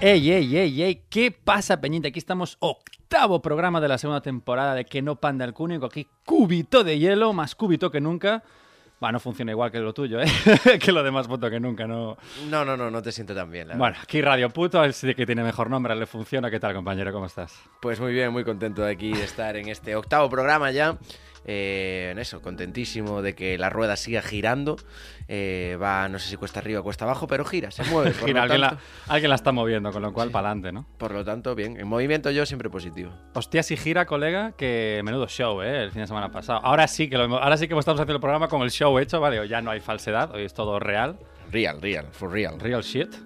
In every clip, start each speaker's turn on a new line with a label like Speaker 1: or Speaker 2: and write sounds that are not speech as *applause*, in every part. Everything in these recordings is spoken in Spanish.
Speaker 1: ¡Ey, ey, ey, ey! ¿Qué pasa, Peñita? Aquí estamos, octavo programa de la segunda temporada de Que no panda el cúnico. Aquí, cúbito de hielo, más cúbito que nunca. Bueno, no funciona igual que lo tuyo, ¿eh? *laughs* que lo demás puto que nunca, ¿no?
Speaker 2: No, no, no, no te siento tan bien. La
Speaker 1: Bueno, aquí Radio Puto, el sí que tiene mejor nombre, le funciona. ¿Qué tal, compañero? ¿Cómo estás?
Speaker 2: verdad. Pues muy bien, muy contento de aquí de estar en este octavo programa ya. Eh, en eso, contentísimo de que la rueda siga girando. Eh, va, no sé si cuesta arriba o cuesta abajo, pero gira, se
Speaker 1: *laughs*
Speaker 2: mueve. Por,
Speaker 1: Gira,
Speaker 2: lo
Speaker 1: alguien,
Speaker 2: tanto,
Speaker 1: la, alguien la está moviendo, con lo cual, para adelante, ¿no?
Speaker 2: por lo tanto, bien. En movimiento yo siempre positivo.
Speaker 1: Hostia, si gira, colega, que menudo show, ¿eh? El fin de semana pasado. Ahora sí que, lo, hemos- ahora sí que estamos haciendo el programa con el show hecho, ¿vale? Ya no hay falsedad, hoy es todo real.
Speaker 2: Real, real, for real.
Speaker 1: Real shit. Bueno,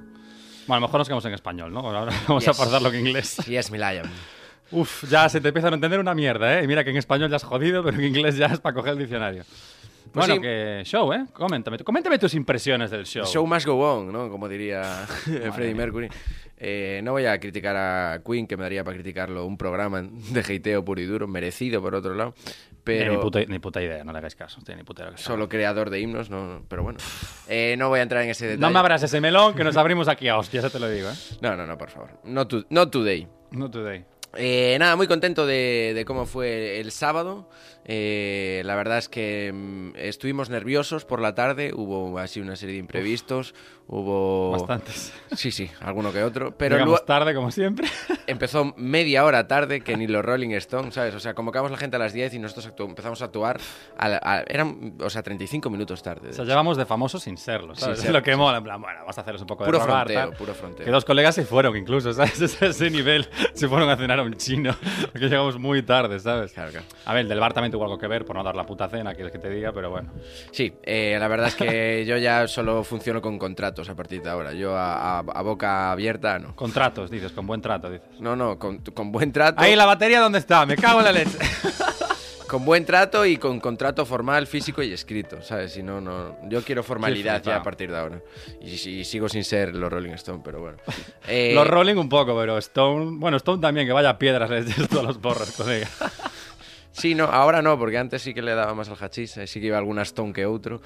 Speaker 1: a lo mejor nos quedamos en español, ¿no? Ahora *laughs* vamos
Speaker 2: Yes.
Speaker 1: a pasarlo en inglés.
Speaker 2: Yes, me lion.
Speaker 1: *laughs* Uf, ya se te empieza a no entender una mierda, ¿eh? Y mira que en español ya has jodido, pero en inglés ya es para coger el diccionario. bueno,
Speaker 2: sí.
Speaker 1: que show, ¿eh? Coméntame, tú- coméntame tus impresiones del show.
Speaker 2: Show must go on, ¿no? Como diría *laughs* Freddie Mercury. Eh, no voy a criticar a Queen, que me daría para criticarlo un programa de hateo puro y duro, merecido por otro lado. Pero...
Speaker 1: Ni, puta, ni puta idea, no le hagáis caso. tiene ni puta idea lo que
Speaker 2: solo creador de himnos, no, pero bueno. Eh, no voy a entrar en ese
Speaker 1: sea.
Speaker 2: detalle.
Speaker 1: No me abras ese melón que nos abrimos aquí a hostias, ya te lo digo, ¿eh?
Speaker 2: No, no, no, por favor. No tu- not today.
Speaker 1: No today.
Speaker 2: Eh, nada, muy contento de, de cómo fue el sábado. Eh, la verdad es que mm, estuvimos nerviosos por la tarde, hubo así una serie de imprevistos,
Speaker 1: Oh.
Speaker 2: hubo...
Speaker 1: Bastantes.
Speaker 2: Sí, sí, alguno que otro. Pero
Speaker 1: Llegamos
Speaker 2: luego
Speaker 1: tarde, como siempre. *laughs*
Speaker 2: empezó media hora tarde que ni los Rolling Stones, ¿sabes? O sea, convocamos la gente a las 10 y nosotros actu- empezamos a actuar. a la- a- eran, o sea, 35 minutos tarde.
Speaker 1: O sea, llevamos de famosos sin serlo, ¿sabes?
Speaker 2: Sin serlo,
Speaker 1: lo que mola, en plan, bueno, vamos a hacerles un poco
Speaker 2: Puro
Speaker 1: de rogar,
Speaker 2: fronteo,
Speaker 1: tal.
Speaker 2: puro fronteo.
Speaker 1: Que dos colegas se fueron incluso, *laughs* ¿sabes? Es ese nivel. Se fueron a cenar a un chino, *laughs* porque llegamos muy tarde, ¿sabes?
Speaker 2: Claro, claro.
Speaker 1: A ver, el del bar también tuvo algo que ver, por no dar la puta cena, quieres que te diga, pero bueno.
Speaker 2: Sí, eh, la verdad
Speaker 1: *laughs*
Speaker 2: es que yo ya solo funciono con contratos a partir de ahora. Yo a, a- a boca abierta no.
Speaker 1: Contratos, dices, con buen trato, dices.
Speaker 2: No, no, con, con buen trato.
Speaker 1: Ahí la batería, ¿dónde está? Me cago en la leche.
Speaker 2: Con buen trato y con contrato formal, físico y escrito, ¿sabes? Si no, no. Yo quiero formalidad ya
Speaker 1: flipado.
Speaker 2: a partir de ahora. Y, si- sigo sin ser los Rolling Stone, pero bueno. *laughs* Eh,
Speaker 1: *laughs* Los Rolling un poco, pero Stone. Bueno, Stone también, que vaya piedras les des todos los borros, colega. *laughs*
Speaker 2: Eh, Sí, no, ahora no, porque antes sí que le daba más al hachís, eh, sí que iba alguna Stone que otro,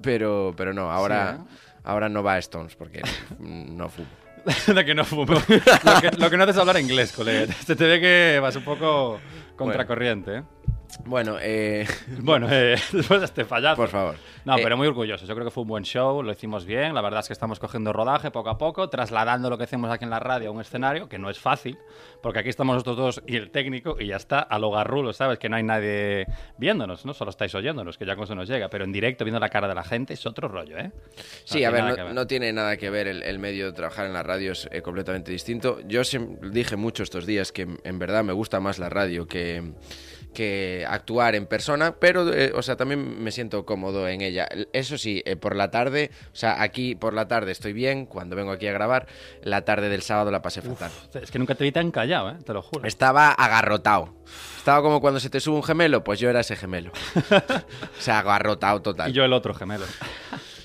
Speaker 2: pero, pero no, ahora,
Speaker 1: ¿eh?
Speaker 2: ahora no va a Stones, porque mm, no fumo.
Speaker 1: De que no fumo. Lo que, lo que no haces es hablar inglés, colega. *laughs* Se te ve que vas un poco contracorriente, ¿eh?
Speaker 2: Bueno, eh, *laughs*
Speaker 1: Bueno, eh, *laughs* después de este fallazo.
Speaker 2: por favor.
Speaker 1: No,
Speaker 2: Eh,
Speaker 1: pero muy orgulloso. Yo creo que fue un buen show, lo hicimos bien. La verdad es que estamos cogiendo rodaje poco a poco, trasladando lo que hacemos aquí en la radio a un escenario, que no es fácil, porque aquí estamos nosotros dos y el técnico, y ya está, a lo garrulo, ¿sabes? Que no hay nadie viéndonos, ¿no? Solo estáis oyéndonos, que ya con eso nos llega. Pero en directo, viendo la cara de la gente, es otro rollo, ¿eh? No
Speaker 2: Sí,
Speaker 1: tiene
Speaker 2: a ver,
Speaker 1: nada
Speaker 2: no,
Speaker 1: que
Speaker 2: no tiene nada que ver el, el medio de trabajar en la radio, es eh, completamente distinto. Yo siem- dije mucho estos días que en verdad me gusta más la radio que, que actuar en persona, pero, eh, o sea, también me siento cómodo en ella. L- Eso sí, eh, por la tarde, o sea, aquí por la tarde estoy bien, cuando vengo aquí a grabar, la tarde del sábado la pasé fatal.
Speaker 1: Es que nunca te vi tan callado, ¿eh? Te lo juro.
Speaker 2: Estaba agarrotado. Estaba como cuando se te sube un gemelo, pues yo era ese
Speaker 1: *laughs*
Speaker 2: gemelo. o sea, agarrotado total.
Speaker 1: Y yo el otro gemelo. *laughs*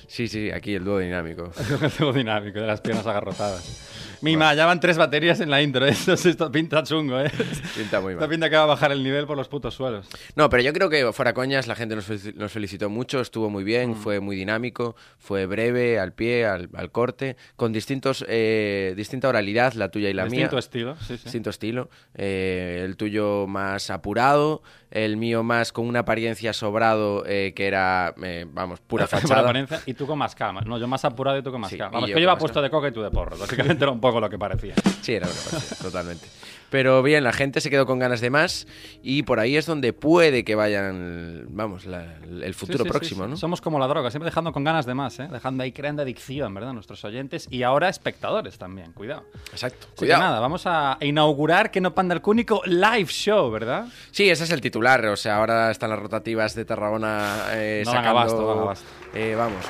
Speaker 2: Sí, sí, aquí el dúo dinámico.
Speaker 1: El juego dinámico, de las piernas agarrotadas. Mima, ya van tres baterías en la intro, ¿eh? *laughs* Entonces esto pinta chungo, ¿eh?
Speaker 2: Pinta muy mal.
Speaker 1: Esta pinta que va a bajar el nivel por los putos suelos.
Speaker 2: No, pero yo creo que fuera coñas, la gente nos, felici- nos felicitó mucho, estuvo muy bien,
Speaker 1: Mm.
Speaker 2: fue muy dinámico, fue breve, al pie, al, al corte, con distintos, eh, distinta oralidad, la tuya y la
Speaker 1: Distinto
Speaker 2: mía.
Speaker 1: estilo, sí, sí.
Speaker 2: Distinto estilo. Eh, el tuyo más apurado, el mío más con una apariencia sobrado eh, que era, eh,
Speaker 1: *laughs*
Speaker 2: vamos,
Speaker 1: *laughs*
Speaker 2: pura
Speaker 1: Por
Speaker 2: fachada.
Speaker 1: apariencia, y tú con más calma. No, yo más apurado y tú con más
Speaker 2: Sí,
Speaker 1: calma.
Speaker 2: y
Speaker 1: Vamos,
Speaker 2: yo
Speaker 1: que yo
Speaker 2: con
Speaker 1: iba
Speaker 2: más
Speaker 1: puesto de coca y tú de porro. Básicamente era un poco lo que parecía.
Speaker 2: Sí, era una parecida, *laughs* totalmente. Pero bien, la gente se quedó con ganas de más y por ahí es donde puede que vayan, vamos, la- el *laughs* futuro
Speaker 1: Sí, sí,
Speaker 2: próximo,
Speaker 1: sí, sí.
Speaker 2: ¿no?
Speaker 1: Somos como la droga, siempre dejando con ganas de más, ¿eh? Dejando ahí, creando adicción, ¿verdad? Nuestros oyentes y ahora espectadores también, cuidado. Así
Speaker 2: Exacto.
Speaker 1: que
Speaker 2: Cuidado.
Speaker 1: nada, vamos a inaugurar que no panda el cúnico live show, ¿verdad?
Speaker 2: Sí, ese es el titular. O sea, ahora están las rotativas de Tarragona eh,
Speaker 1: No dan
Speaker 2: sacando
Speaker 1: abasto, no dan abasto.
Speaker 2: Eh, vamos.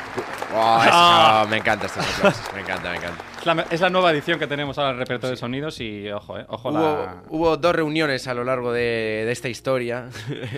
Speaker 2: Oh, es-
Speaker 1: Ah.
Speaker 2: oh, me encanta estas
Speaker 1: *laughs*
Speaker 2: clases, me encanta, me encanta.
Speaker 1: Es la, es la nueva edición que tenemos ahora del repertorio de sonidos y ojo, eh, ojo la...
Speaker 2: Hubo, hubo dos reuniones a lo largo de, de esta historia *laughs*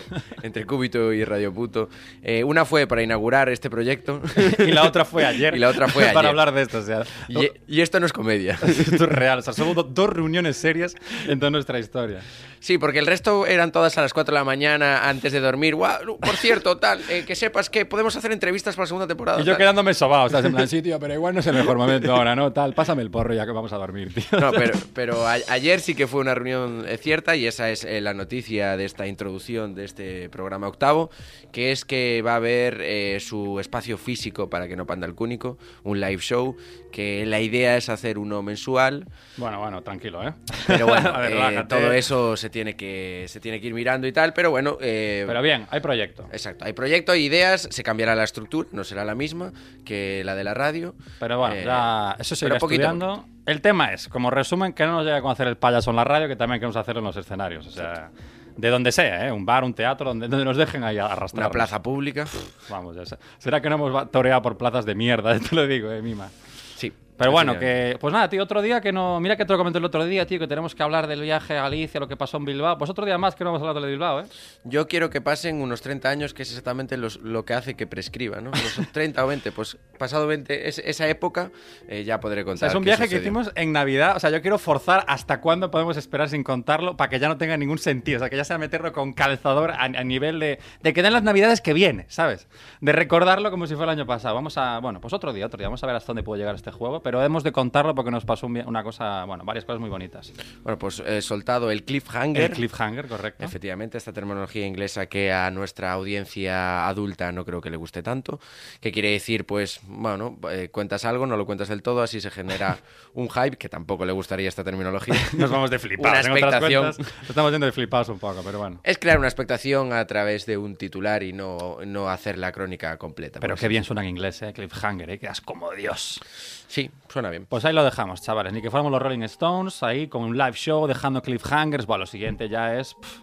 Speaker 2: entre Cúbito y Radio Puto. Eh, una fue para inaugurar
Speaker 1: *laughs*
Speaker 2: este proyecto.
Speaker 1: *laughs* y la otra fue ayer.
Speaker 2: *laughs* Y la otra fue
Speaker 1: *laughs* Para
Speaker 2: ayer.
Speaker 1: hablar de esto, o sea...
Speaker 2: Y, y esto no es comedia.
Speaker 1: *laughs* Esto es real, o sea, somos do- dos reuniones serias en toda nuestra historia.
Speaker 2: Sí, porque el resto eran todas a las 4 de la mañana antes de dormir. Guau, no, por cierto, tal, eh, que sepas que podemos hacer entrevistas para la segunda temporada.
Speaker 1: Y yo
Speaker 2: tal.
Speaker 1: quedándome sobado, o sea, en *laughs* plan, sí, tío, pero igual no es el mejor momento ahora, ¿no? Tal, pásame el porro ya que vamos a dormir, tío.
Speaker 2: No, pero, pero a- ayer sí que fue una reunión eh, cierta y esa es eh, la noticia de esta introducción de este programa octavo, que es que va a haber eh, su espacio físico para que no panda el cúnico, un live show, que la idea es hacer uno mensual,
Speaker 1: *laughs* Bueno, bueno, tranquilo, ¿eh?
Speaker 2: pero bueno,
Speaker 1: *laughs* A ver,
Speaker 2: eh,
Speaker 1: relájate.
Speaker 2: todo eso se tiene, que, se tiene que ir mirando y tal, pero bueno... eh,
Speaker 1: Pero bien, hay proyecto.
Speaker 2: Exacto, hay proyecto, hay ideas, se cambiará la estructura, no será la misma que la de la radio.
Speaker 1: Pero bueno,
Speaker 2: Eh,
Speaker 1: ya eso se
Speaker 2: pero
Speaker 1: irá
Speaker 2: poquito a
Speaker 1: estudiando. El tema es, como resumen, que no nos llegue a conocer el payaso en la radio, que también queremos hacerlo en los escenarios. O sea, de donde sea, ¿eh? Un bar, un teatro, donde, donde nos dejen ahí arrastrar.
Speaker 2: Una plaza pública.
Speaker 1: Vamos, ya sé. Será que no hemos va- toreado por plazas de mierda, *laughs* te lo digo, eh, Mima.
Speaker 2: Sí.
Speaker 1: Pero bueno,
Speaker 2: Así
Speaker 1: que. Pues nada, tío, otro día que no. Mira que te lo comenté el otro día, tío, que tenemos que hablar del viaje a Galicia, lo que pasó en Bilbao. Pues otro día más que no vamos a hablar de Bilbao, ¿eh?
Speaker 2: Yo quiero que pasen unos 30 años, que es exactamente los- lo que hace que prescriba,
Speaker 1: *laughs*
Speaker 2: ¿no? Los 30 o 20, pues pasado 20, es- esa época eh, ya podré
Speaker 1: O sea,
Speaker 2: contar.
Speaker 1: es un
Speaker 2: qué
Speaker 1: viaje que
Speaker 2: sucedió.
Speaker 1: hicimos en Navidad. O sea, yo quiero forzar hasta cuándo podemos esperar sin contarlo para que ya no tenga ningún sentido. O sea, que ya sea meterlo con calzador a, a nivel de, de que den las Navidades que viene, ¿sabes? De recordarlo como si fuera el año pasado. Vamos a. Bueno, pues otro día, otro día. Vamos a ver hasta dónde puede llegar este juego. Pero hemos de contarlo porque nos pasó un vi- una cosa. Bueno, varias cosas muy bonitas.
Speaker 2: Bueno, pues eh, soltado el cliffhanger.
Speaker 1: El cliffhanger, correcto.
Speaker 2: Efectivamente, esta terminología inglesa que a nuestra audiencia adulta no creo que le guste tanto, que quiere decir, pues, bueno, eh, cuentas algo, no lo cuentas del todo, así se
Speaker 1: *laughs*
Speaker 2: genera un hype, que tampoco le gustaría esta terminología.
Speaker 1: Nos vamos de flipados. ¿eh?
Speaker 2: Una
Speaker 1: en otras
Speaker 2: expectación.
Speaker 1: cuentas, estamos yendo de flipados un poco, pero bueno.
Speaker 2: Es crear una expectación a través de un titular y no, no hacer la crónica completa.
Speaker 1: Pero
Speaker 2: pues.
Speaker 1: qué bien suena en inglés, ¿eh? Cliffhanger, ¿eh? Quedas como Dios.
Speaker 2: Sí, suena bien.
Speaker 1: Pues ahí lo dejamos, chavales. Ni que fuéramos los Rolling Stones, ahí con un live show, dejando cliffhangers. Bueno, lo siguiente ya es pff,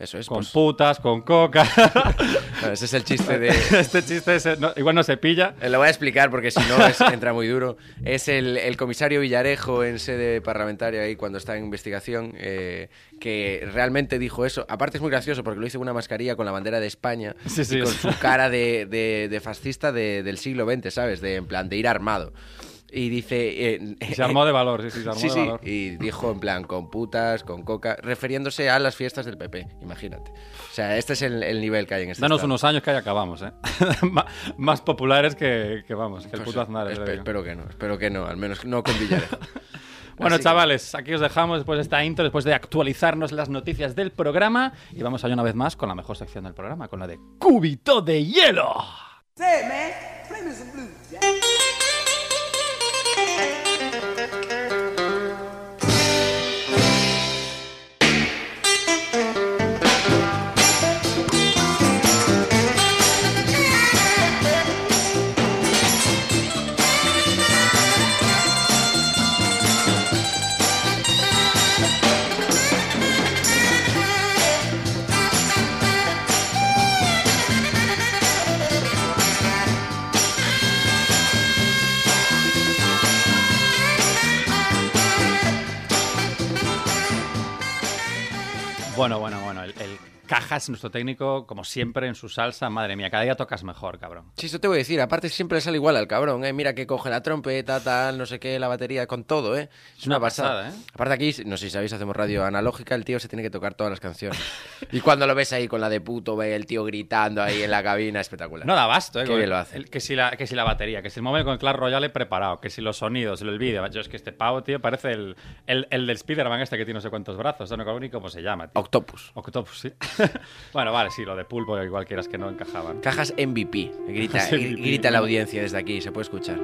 Speaker 2: Eso es.
Speaker 1: con
Speaker 2: pues.
Speaker 1: putas, con coca.
Speaker 2: Bueno, ese es el chiste de,
Speaker 1: *laughs* este chiste ese, no- igual no se pilla.
Speaker 2: Eh, Lo voy a explicar porque si no es- entra muy duro. Es el, el comisario Villarejo en sede parlamentaria ahí cuando está en investigación eh, que realmente dijo eso. Aparte es muy gracioso porque lo hizo con una mascarilla con la bandera de España
Speaker 1: Sí, sí.
Speaker 2: y con su cara de, de- de fascista de- del siglo XX, ¿sabes? De, en plan de ir armado. Y dice... eh,
Speaker 1: Y Se armó de valor, sí, sí, se armó
Speaker 2: Sí,
Speaker 1: de
Speaker 2: sí,
Speaker 1: valor.
Speaker 2: y dijo en plan con putas, con coca, refiriéndose a las fiestas del PP, imagínate. O sea, este es el, el nivel que hay en este
Speaker 1: Danos
Speaker 2: estado.
Speaker 1: unos años que ahí acabamos, ¿eh? *laughs* M- más populares que, que, vamos, que el
Speaker 2: Pues,
Speaker 1: puto Aznar.
Speaker 2: espe-
Speaker 1: yo digo.
Speaker 2: espero que no, espero que no, al menos no con Villarejo.
Speaker 1: Bueno,
Speaker 2: Así que-
Speaker 1: chavales, aquí os dejamos después de esta intro, después de actualizarnos las noticias del programa. Y vamos allá una vez más con la mejor sección del programa, con la de Cúbito de Hielo.
Speaker 3: Say, man, play me some blues, Jack.
Speaker 1: Bueno, bueno, bueno, el, el Cajas, nuestro técnico, como siempre, en su salsa. Madre mía, cada día tocas mejor, cabrón.
Speaker 2: *laughs* Sí, eso te voy a decir. Aparte, siempre le sale igual al cabrón, ¿eh? Mira que coge la trompeta, tal, no sé qué, la batería, con todo, ¿eh? Es
Speaker 1: una
Speaker 2: una pasada.
Speaker 1: pasada, ¿eh?
Speaker 2: Aparte, aquí, no sé si sabéis, hacemos radio analógica, el tío se tiene que tocar todas las canciones. y cuando lo ves ahí con la de puto, ve el tío gritando ahí en la cabina, espectacular.
Speaker 1: No da basto, ¿eh?
Speaker 2: Qué
Speaker 1: con
Speaker 2: bien
Speaker 1: el-
Speaker 2: lo hace.
Speaker 1: el- que, si la, que si la batería, que si el móvil con el Clash Royale preparado, que si los sonidos, el vídeo. Yo es que este pavo, tío, parece el, el, el del Spider-Man este que tiene no sé cuántos brazos. No sé ni cómo se llama, tío.
Speaker 2: Octopus.
Speaker 1: Octopus, sí. *laughs* bueno, vale, sí, lo de pulpo, igual quieras que no encajaba. ¿no?
Speaker 2: Cajas MVP. Grita,
Speaker 1: Cajas MVP.
Speaker 2: grita la audiencia desde aquí, se puede escuchar.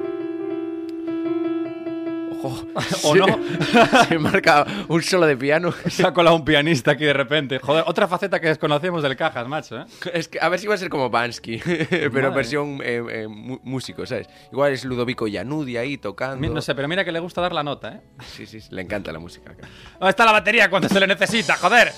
Speaker 2: Ojo.
Speaker 1: *laughs* O no.
Speaker 2: *laughs* se marca un solo de piano.
Speaker 1: Se ha colado un pianista aquí de repente. Joder, otra faceta que desconocemos del Cajas, macho, ¿eh?
Speaker 2: Es que, a ver si va a ser como Bansky, *laughs* pero
Speaker 1: Madre.
Speaker 2: versión eh, eh, mu- músico, ¿sabes? Igual es Ludovico Yanudi ahí tocando.
Speaker 1: Mi- No sé, pero mira que le gusta dar la nota, ¿eh?
Speaker 2: Sí, sí, sí, le encanta la música.
Speaker 1: ¿Dónde está la batería cuando se le necesita, joder?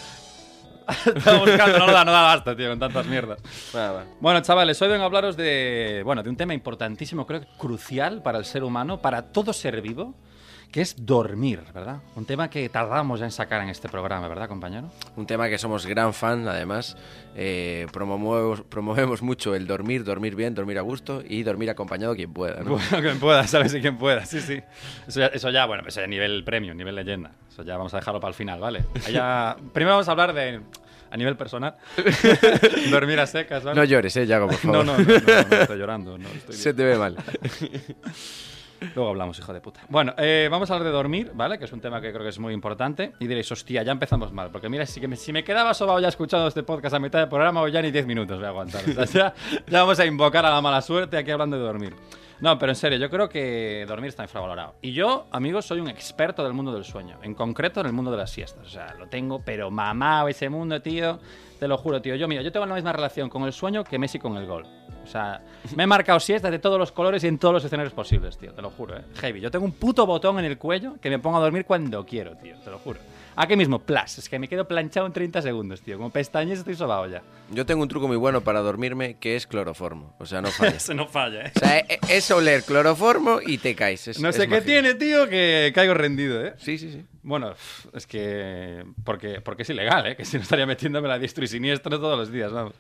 Speaker 1: *laughs* Estaba buscando, no, no da, no da basta, tío, con tantas mierdas.
Speaker 2: Va, va.
Speaker 1: Bueno, chavales, hoy vengo a hablaros de, bueno, de un tema importantísimo, creo que crucial para el ser humano, para todo ser vivo, que es dormir, ¿verdad? Un tema que tardamos ya en sacar en este programa, ¿verdad, compañero?
Speaker 2: Un tema que somos gran fan, además. Eh, promovemos, promovemos mucho el dormir, dormir bien, dormir a gusto y dormir acompañado quien pueda.
Speaker 1: *laughs*
Speaker 2: ¿no?
Speaker 1: Bueno, quien pueda, ¿sabes? Y quien pueda, sí, sí. Eso ya, eso ya, bueno, pues a nivel premium, nivel leyenda. Eso ya vamos a dejarlo para el final, ¿vale? Ahí
Speaker 2: *laughs*
Speaker 1: ya- primero vamos a hablar de, a nivel personal, *laughs* dormir a secas, ¿vale?
Speaker 2: No llores, eh, Yago, por
Speaker 1: no,
Speaker 2: favor. *laughs*
Speaker 1: no, no, no, no, estoy llorando. No, estoy
Speaker 2: Se te ve mal.
Speaker 1: Luego hablamos, hijo de puta. Bueno, eh, vamos a hablar de dormir, ¿vale? Que es un tema que creo que es muy importante. Y diréis, hostia, ya empezamos mal. Porque mira, si, que me, si me quedaba sobado ya escuchando este podcast a mitad del programa, o ya ni 10 minutos voy a aguantar. O sea, ya, ya vamos a invocar a la mala suerte aquí hablando de dormir. No, pero en serio, yo creo que dormir está infravalorado. Y yo, amigos, soy un experto del mundo del sueño. En concreto, en el mundo de las siestas. O sea, lo tengo, pero mamado ese mundo, tío. Te lo juro, tío. Yo, mira, yo tengo la misma relación con el sueño que Messi con el gol. O sea, me he marcado siestas de todos los colores y en todos los escenarios posibles, tío. Te lo juro, eh. Heavy. Yo tengo un puto botón en el cuello que me pongo a dormir cuando quiero, tío. Te lo juro. Aquí mismo, plas. Es que me quedo planchado en 30 segundos, tío. Como pestañas estoy sobado ya.
Speaker 2: Yo tengo un truco muy bueno para dormirme que es cloroformo. O sea,
Speaker 1: *laughs*
Speaker 2: no fallas.
Speaker 1: Eso no falla, eh.
Speaker 2: O sea, e- es oler cloroformo y te caes. Es-
Speaker 1: No
Speaker 2: es
Speaker 1: sé qué
Speaker 2: mágico.
Speaker 1: tiene, tío, que caigo rendido, eh.
Speaker 2: Sí, sí, sí.
Speaker 1: Bueno, pf, es que. Porque, porque es ilegal, ¿eh? Que si no estaría metiéndome la diestro y siniestro todos los días, vamos.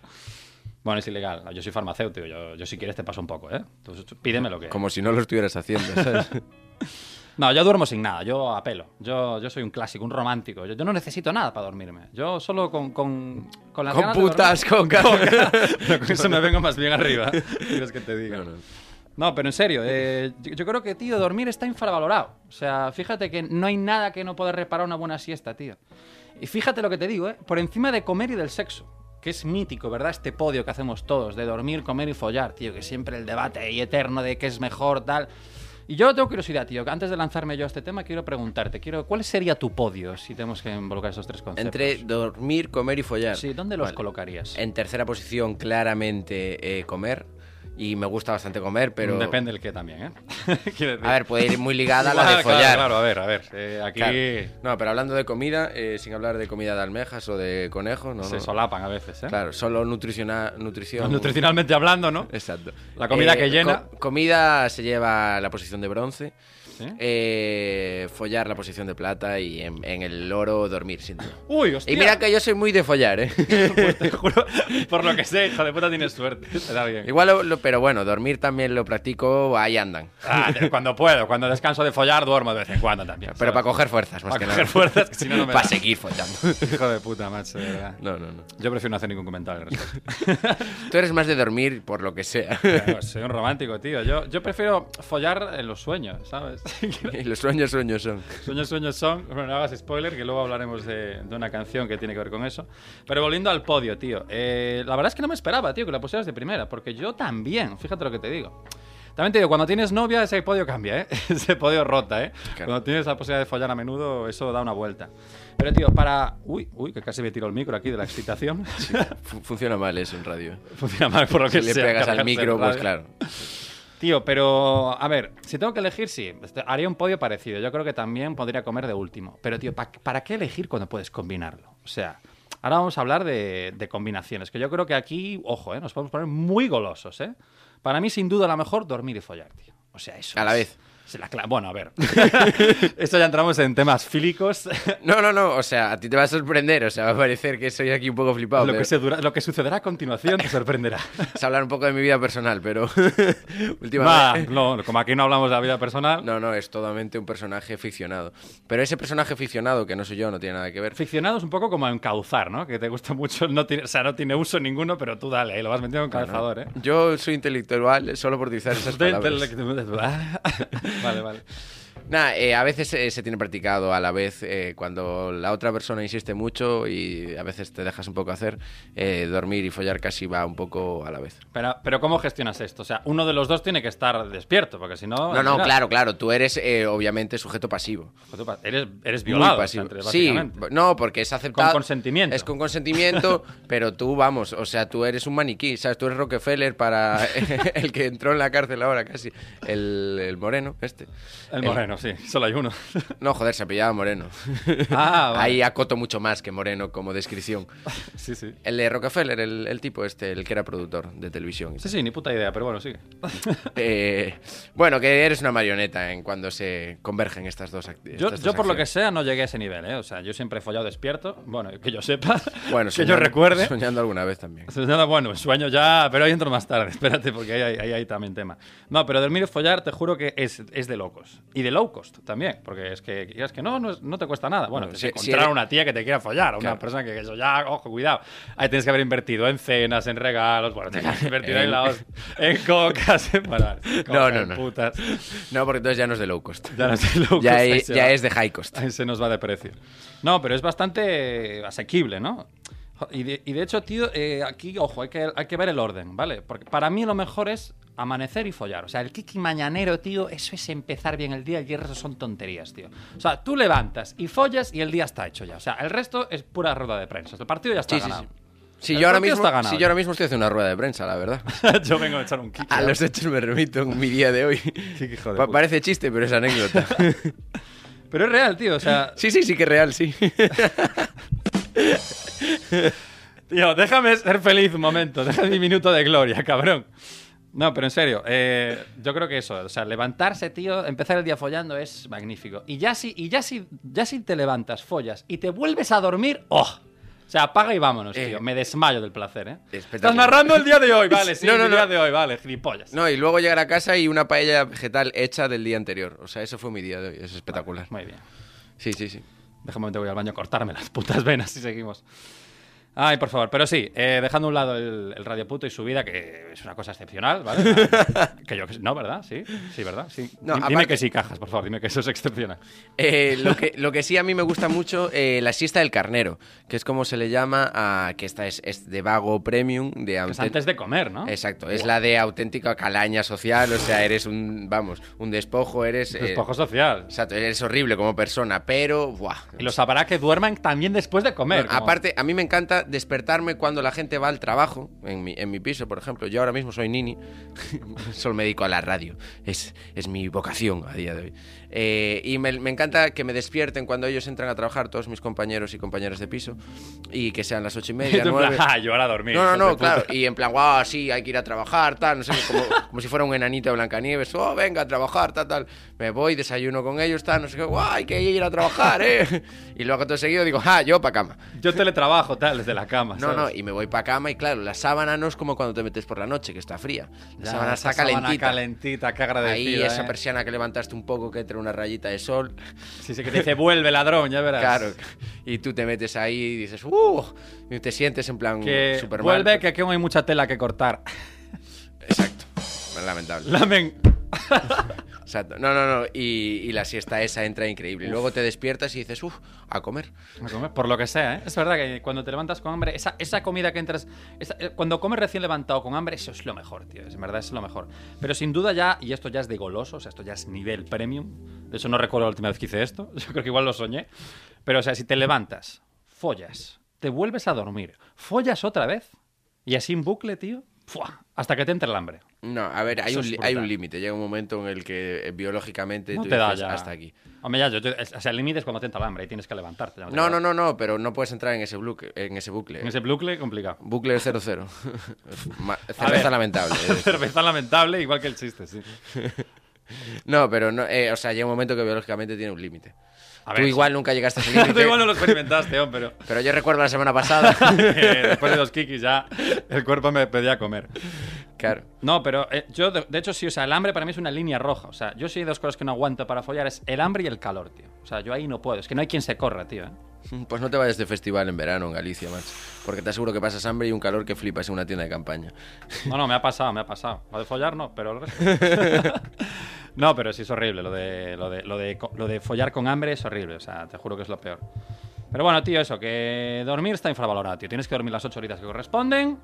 Speaker 1: Bueno, es ilegal. Yo soy farmacéutico. Yo, yo si quieres te paso un poco, ¿eh? Tú- tú pídeme lo que.
Speaker 2: Como si no lo estuvieras haciendo, ¿sabes?
Speaker 1: *laughs* No, yo duermo sin nada, yo apelo. Yo, yo soy un clásico, un romántico. Yo, yo no necesito nada para dormirme. Yo solo con, con, con las
Speaker 2: con
Speaker 1: ganas de dormir.
Speaker 2: putas, con ganas.
Speaker 1: Pero *laughs* con eso me vengo más bien arriba. ¿Quieres que te diga? No, pero en serio, eh, yo, yo creo que, tío, dormir está infravalorado. O sea, fíjate que no hay nada que no pueda reparar una buena siesta, tío. Y fíjate lo que te digo, ¿eh? Por encima de comer y del sexo. Que es mítico, ¿verdad? Este podio que hacemos todos, de dormir, comer y follar, tío. Que siempre el debate ahí eterno de qué es mejor, tal. Y yo tengo curiosidad, tío. que Antes de lanzarme yo a este tema, quiero preguntarte, quiero, ¿cuál sería tu podio si tenemos que involucrar esos tres conceptos?
Speaker 2: Entre dormir, comer y follar.
Speaker 1: Sí, ¿dónde los
Speaker 2: Vale.
Speaker 1: colocarías?
Speaker 2: En tercera posición, claramente eh, comer. Y me gusta bastante comer, pero.
Speaker 1: Mm, Depende el qué también, ¿eh? *laughs* Quiero decir-
Speaker 2: A ver, puede ir muy ligada
Speaker 1: *laughs*
Speaker 2: a
Speaker 1: Igual,
Speaker 2: la de
Speaker 1: claro,
Speaker 2: follar.
Speaker 1: Claro, a ver, a ver. eh, aquí
Speaker 2: Claro. No, pero hablando de comida, eh, sin hablar de comida de almejas o de conejos, no.
Speaker 1: se
Speaker 2: no.
Speaker 1: solapan a veces, ¿eh?
Speaker 2: Claro, solo nutriciona-
Speaker 1: *laughs*
Speaker 2: nutrición.
Speaker 1: Nutricionalmente hablando, ¿no?
Speaker 2: Exacto. Eh,
Speaker 1: La comida que
Speaker 2: co-
Speaker 1: llena.
Speaker 2: comida se lleva la posición de bronce.
Speaker 1: Sí.
Speaker 2: Eh, follar la posición de plata y en, en el oro dormir, sin duda.
Speaker 1: Uy, hostia.
Speaker 2: Y
Speaker 1: *laughs*
Speaker 2: mira que yo soy muy de follar, ¿eh?
Speaker 1: Pues te juro, por lo que sé, hija de puta, tienes suerte. Te da bien.
Speaker 2: Igual, lo- lo- pero bueno, dormir también lo practico, ahí andan.
Speaker 1: Ah, de- cuando puedo, cuando descanso de follar, duermo de vez en cuando también.
Speaker 2: Pero
Speaker 1: ¿sabes?
Speaker 2: para coger fuerzas, más
Speaker 1: Para
Speaker 2: que
Speaker 1: coger
Speaker 2: nada.
Speaker 1: fuerzas, que si no, no me
Speaker 2: para
Speaker 1: da.
Speaker 2: seguir
Speaker 1: *laughs*
Speaker 2: follando.
Speaker 1: Hijo de puta, macho, de verdad.
Speaker 2: No, no, no.
Speaker 1: Yo prefiero no hacer ningún comentario al
Speaker 2: *laughs*
Speaker 1: respecto.
Speaker 2: Tú eres más de dormir por lo que sea.
Speaker 1: *laughs* Claro, soy un romántico, tío. Yo, yo prefiero follar en los sueños,
Speaker 2: *laughs*
Speaker 1: ¿sabes?
Speaker 2: Y los sueños, sueños son.
Speaker 1: Sueños, sueños son. Bueno, no hagas spoiler, que luego hablaremos de, de una canción que tiene que ver con eso. Pero volviendo al podio, tío. eh, la verdad es que no me esperaba, tío, que la pusieras de primera, porque yo también, fíjate lo que te digo. También te digo, cuando tienes novia, ese podio cambia, ¿eh? *laughs* Ese podio rota, ¿eh?
Speaker 2: Claro.
Speaker 1: Cuando tienes la posibilidad de follar a menudo, eso da una vuelta. Pero, tío, para. Uy, uy, que casi me tiro el micro aquí de la excitación.
Speaker 2: Fu- funciona mal eso en radio.
Speaker 1: *laughs* Funciona mal por lo que
Speaker 2: Si le
Speaker 1: sea,
Speaker 2: pegas al
Speaker 1: cargarse
Speaker 2: micro,
Speaker 1: el
Speaker 2: pues
Speaker 1: radio.
Speaker 2: claro.
Speaker 1: Tío, pero a ver, si tengo que elegir, sí, este, haría un podio parecido. Yo creo que también podría comer de último. Pero, tío, ¿pa- ¿para qué elegir cuando puedes combinarlo? O sea, ahora vamos a hablar de, de combinaciones, que yo creo que aquí, ojo, ¿eh? nos podemos poner muy golosos, ¿eh? Para mí, sin duda, la mejor dormir y follar, tío. O sea, eso.
Speaker 2: A la
Speaker 1: es-
Speaker 2: vez.
Speaker 1: es la cla- bueno, a ver. *laughs* Esto ya entramos en temas
Speaker 2: *laughs*
Speaker 1: fílicos.
Speaker 2: No, no, no. O sea, a ti te va a sorprender. O sea, va a parecer que soy aquí un poco flipado.
Speaker 1: lo, que
Speaker 2: pero-
Speaker 1: se dura- lo que sucederá a continuación te sorprenderá.
Speaker 2: Es hablar un poco de mi vida personal, pero *laughs*
Speaker 1: Va,
Speaker 2: últimamente...
Speaker 1: no, como aquí no hablamos de la vida personal.
Speaker 2: No, no, es totalmente un personaje ficcionado. Pero ese personaje ficcionado, que no soy yo, no tiene nada que ver.
Speaker 1: Ficcionado es un poco como encauzar, ¿no? Que te gusta mucho, no tiene, o sea, no tiene uso ninguno, pero tú dale, ahí lo vas metiendo en calzador, ¿eh?
Speaker 2: Yo soy intelectual solo por utilizar esas
Speaker 1: Usted
Speaker 2: palabras. *laughs*
Speaker 1: intelectual. vale, vale.
Speaker 2: Nada, eh, a veces eh, se tiene practicado a la vez eh, cuando la otra persona insiste mucho y a veces te dejas un poco hacer, eh, dormir y follar casi va un poco a la vez.
Speaker 1: Pero, pero ¿cómo gestionas esto? O sea, uno de los dos tiene que estar despierto, porque si no...
Speaker 2: No,
Speaker 1: al
Speaker 2: no,
Speaker 1: final,
Speaker 2: claro, claro, tú eres eh, obviamente sujeto pasivo.
Speaker 1: pues tú pa- eres, eres
Speaker 2: Muy
Speaker 1: violado, o sea,
Speaker 2: pasivo.
Speaker 1: entre-
Speaker 2: sí,
Speaker 1: básicamente.
Speaker 2: no, porque es aceptado.
Speaker 1: Con consentimiento.
Speaker 2: Es
Speaker 1: *laughs*
Speaker 2: con consentimiento, pero tú, vamos, o sea, tú eres un maniquí, ¿sabes? Tú eres Rockefeller *laughs* para el que entró en la cárcel ahora casi, el, el moreno, este. Eh,
Speaker 1: El moreno, sí, solo hay uno.
Speaker 2: *laughs* No, joder, se apellaba
Speaker 1: *laughs*
Speaker 2: Moreno.
Speaker 1: Ah, vale.
Speaker 2: Ahí acoto mucho más que Moreno como descripción.
Speaker 1: Sí, sí.
Speaker 2: El de Rockefeller, el, el tipo este, el que era productor de televisión.
Speaker 1: *laughs*
Speaker 2: y
Speaker 1: Sí, sí, ni puta idea, pero bueno, sigue.
Speaker 2: Eh, bueno, que eres una marioneta en cuando se convergen estas dos actividades.
Speaker 1: Yo, yo por lo que sea, no llegué a ese nivel, ¿eh? O sea, yo siempre he follado despierto. Bueno, que yo sepa. *laughs* que yo
Speaker 2: *laughs*
Speaker 1: recuerde.
Speaker 2: Soñando alguna vez también.
Speaker 1: Entonces, nada, bueno, sueño ya, pero ahí entro más tarde, *laughs* espérate, porque ahí hay, ahí hay también tema. No, pero dormir y follar, te juro que es, es de locos. Y de low cost también, porque es que, es que no, no, es- no te cuesta nada. Bueno,
Speaker 2: Bueno,
Speaker 1: tienes
Speaker 2: si-
Speaker 1: que
Speaker 2: si
Speaker 1: encontrar
Speaker 2: eres-
Speaker 1: una tía que te quiera follar, una
Speaker 2: Claro.
Speaker 1: persona que eso ya, ojo, cuidado. Ahí tienes que haber invertido en cenas, en regalos, bueno, tienes que invertir en,
Speaker 2: *laughs* En-
Speaker 1: la host- en cocas, *laughs* en, bueno, en
Speaker 2: No,
Speaker 1: coca,
Speaker 2: no,
Speaker 1: en
Speaker 2: no.
Speaker 1: putas.
Speaker 2: No, porque entonces ya no es de low cost.
Speaker 1: Ya no es de *laughs* low cost,
Speaker 2: Ya,
Speaker 1: ahí
Speaker 2: es-
Speaker 1: se
Speaker 2: ya
Speaker 1: va.
Speaker 2: es de
Speaker 1: *laughs*
Speaker 2: high cost.
Speaker 1: Ahí se nos va de precio. No, pero es bastante asequible, ¿no? Jo- Y de, y de hecho, tío, eh, aquí, ojo, hay que, hay que ver el orden, ¿vale? Porque para mí lo mejor es amanecer y follar. O sea, el kiki mañanero, tío, eso es empezar bien el día y el resto son tonterías, tío. O sea, tú levantas y follas y el día está hecho ya. O sea, el resto es pura rueda de prensa. El partido ya está
Speaker 2: Sí, sí,
Speaker 1: ganado.
Speaker 2: sí. Si
Speaker 1: El
Speaker 2: yo, ahora
Speaker 1: partido
Speaker 2: mismo,
Speaker 1: está ganado ¿eh?
Speaker 2: si yo
Speaker 1: ya.
Speaker 2: ahora mismo estoy haciendo una rueda de prensa,
Speaker 1: *laughs*
Speaker 2: la verdad.
Speaker 1: Yo vengo a echar un kiki. ¿eh?
Speaker 2: A los hechos me remito en mi día de hoy.
Speaker 1: hijo de
Speaker 2: Pa-
Speaker 1: puta.
Speaker 2: parece chiste, pero es anécdota. *laughs*
Speaker 1: Pero es real, tío. O sea,
Speaker 2: Sí, sí, sí que es real, sí.
Speaker 1: Tío, déjame ser feliz un momento, déjame mi minuto de gloria, cabrón. No, pero en serio, eh, yo creo que eso, o sea, levantarse, tío, empezar el día follando es magnífico. Y ya si, y ya si, ya si te levantas, follas y te vuelves a dormir, ¡oh! O sea, apaga y vámonos,
Speaker 2: Eh.
Speaker 1: tío. Me desmayo del placer, ¿eh? Estás
Speaker 2: Espectacular.
Speaker 1: narrando el día de hoy,
Speaker 2: *laughs*
Speaker 1: vale, sí,
Speaker 2: No, no,
Speaker 1: el día
Speaker 2: no.
Speaker 1: de hoy, vale, gilipollas.
Speaker 2: No, y luego llegar a casa y una paella vegetal hecha del día anterior. O sea, eso fue mi día de hoy. Es espectacular.
Speaker 1: Muy bien.
Speaker 2: Sí, sí, sí.
Speaker 1: Déjame un momento voy al baño a cortarme las putas venas y seguimos. Ay, por favor, pero sí, eh, dejando a un lado el, el radio puto y su vida, que es una cosa excepcional, ¿vale? *laughs* que yo que no, ¿verdad? Sí, sí, ¿verdad? Sí.
Speaker 2: No,
Speaker 1: Di- dime
Speaker 2: aparte-
Speaker 1: que sí, cajas, por favor, dime que eso es excepcional.
Speaker 2: Eh, lo, que, lo que sí a mí me gusta mucho, eh, la siesta del carnero, que es como se le llama a... que esta es, es de vago premium, de...
Speaker 1: Que es
Speaker 2: auten-
Speaker 1: antes de comer, ¿no?
Speaker 2: Exacto, es la de auténtica calaña social, o sea, eres un, vamos, un despojo, eres... eh,
Speaker 1: Despojo social.
Speaker 2: Exacto, eres horrible como persona, pero... Buah,
Speaker 1: Y los sabrá que duerman también después de comer.
Speaker 2: Bueno,
Speaker 1: como-
Speaker 2: Aparte, a mí me encanta despertarme cuando la gente va al trabajo, en mi, en mi piso, por ejemplo. Yo ahora mismo soy nini, *laughs* solo me dedico a la radio. Es, es mi vocación a día de hoy. Eh, y me, me encanta que me despierten cuando ellos entran a trabajar, todos mis compañeros y compañeras de piso, y que sean las
Speaker 1: Y
Speaker 2: ocho y
Speaker 1: tú *laughs* *laughs*
Speaker 2: media,
Speaker 1: en plan,
Speaker 2: nueve.
Speaker 1: "Ah, yo ahora a dormir.
Speaker 2: No, no,
Speaker 1: hijos de
Speaker 2: no,
Speaker 1: puta".
Speaker 2: claro. Y en plan, guau, sí, hay que ir a trabajar, tal, no sé, qué, como, como si fuera un enanito de Blancanieves. Oh, venga a trabajar, tal, tal. Me voy, desayuno con ellos, tal, no sé qué, guau, hay que ir a trabajar, eh. *laughs* Y luego todo seguido digo, ah, yo pa' cama.
Speaker 1: Yo teletrabajo, tal, desde la cama.
Speaker 2: No, no,
Speaker 1: ¿sabes?
Speaker 2: y me voy para cama y claro, la sábana no es como cuando te metes por la noche, que está fría. La
Speaker 1: Ya,
Speaker 2: sábana
Speaker 1: esa
Speaker 2: está
Speaker 1: sábana
Speaker 2: calentita.
Speaker 1: calentita, qué
Speaker 2: Ahí
Speaker 1: agradecida.
Speaker 2: esa
Speaker 1: ¿eh?
Speaker 2: persiana que levantaste un poco, que entra una rayita de sol.
Speaker 1: Sí, sí, que te dice, vuelve ladrón, ya verás.
Speaker 2: Claro. Y tú te metes ahí y dices, ¡uh! Y te sientes en plan
Speaker 1: Que
Speaker 2: Superman.
Speaker 1: vuelve, que aquí aún hay mucha tela que cortar. *laughs*
Speaker 2: Exacto. Lamentable.
Speaker 1: Lamen.
Speaker 2: Exacto. No, no, no. Y, y la siesta esa entra increíble. Y luego te despiertas y dices, ¡uf! A comer.
Speaker 1: A comer, Por lo que sea, ¿eh? Es verdad que cuando te levantas con hambre, esa, esa comida que entras. esa- eh, cuando comes recién levantado con hambre, eso es lo mejor, tío. Es en verdad, es lo mejor. Pero sin duda ya, y esto ya es de goloso, o sea, esto ya es nivel premium. De hecho, no recuerdo la última vez que hice esto. *laughs* Yo creo que igual lo soñé. Pero, o sea, si te levantas, follas, te vuelves a dormir, follas otra vez, y así en bucle, tío, ¡fua! hasta que te entre el hambre.
Speaker 2: No, a ver, hay
Speaker 1: Eso
Speaker 2: un,
Speaker 1: es
Speaker 2: li- hay
Speaker 1: brutal.
Speaker 2: un límite. Llega un momento en el que eh, biológicamente
Speaker 1: No
Speaker 2: tú
Speaker 1: te da
Speaker 2: dices,
Speaker 1: ya.
Speaker 2: hasta aquí.
Speaker 1: Hombre, ya, yo, yo- o sea, el límite es cuando te entra el hambre y tienes que levantarte. ya te
Speaker 2: No,
Speaker 1: quedas-
Speaker 2: no, eh. no, no, pero no puedes entrar en ese bucle. En ese bucle.
Speaker 1: En ese bucle, complicado. *laughs*
Speaker 2: Bucle 00. *laughs* Ma-
Speaker 1: ver.
Speaker 2: Cerveza
Speaker 1: *laughs*
Speaker 2: lamentable.
Speaker 1: Cerveza lamentable, igual que el chiste, sí.
Speaker 2: No, pero no, eh, o sea, llega un momento que biológicamente tiene un límite.
Speaker 1: A
Speaker 2: Tú
Speaker 1: ver,
Speaker 2: igual nunca llegaste a
Speaker 1: *laughs*
Speaker 2: ese
Speaker 1: Tú
Speaker 2: límite.
Speaker 1: igual no lo experimentaste, hombre, pero
Speaker 2: Pero yo recuerdo la semana
Speaker 1: *laughs*
Speaker 2: pasada.
Speaker 1: eh, después de los kikis ya el cuerpo me pedía comer.
Speaker 2: claro.
Speaker 1: No, pero eh, yo, de, de hecho, sí, o sea, el hambre para mí es una línea roja. O sea, yo sí hay dos cosas que no aguanto para follar, es el hambre y el calor, tío. O sea, yo ahí no puedo, es que no hay quien se corra, tío. ¿eh?
Speaker 2: Pues no te vayas de festival en verano en Galicia, macho. Porque te aseguro que pasas hambre y un calor que flipas en una tienda de campaña.
Speaker 1: No, no, me ha pasado, me ha pasado. Lo de follar no, pero el resto. No, pero sí es horrible. Lo de, lo, de, lo, de, co- lo de follar con hambre es horrible. O sea, te juro que es lo peor. Pero bueno, tío, eso, que dormir está infravalorado, tío. Tienes que dormir las 8 horitas que corresponden.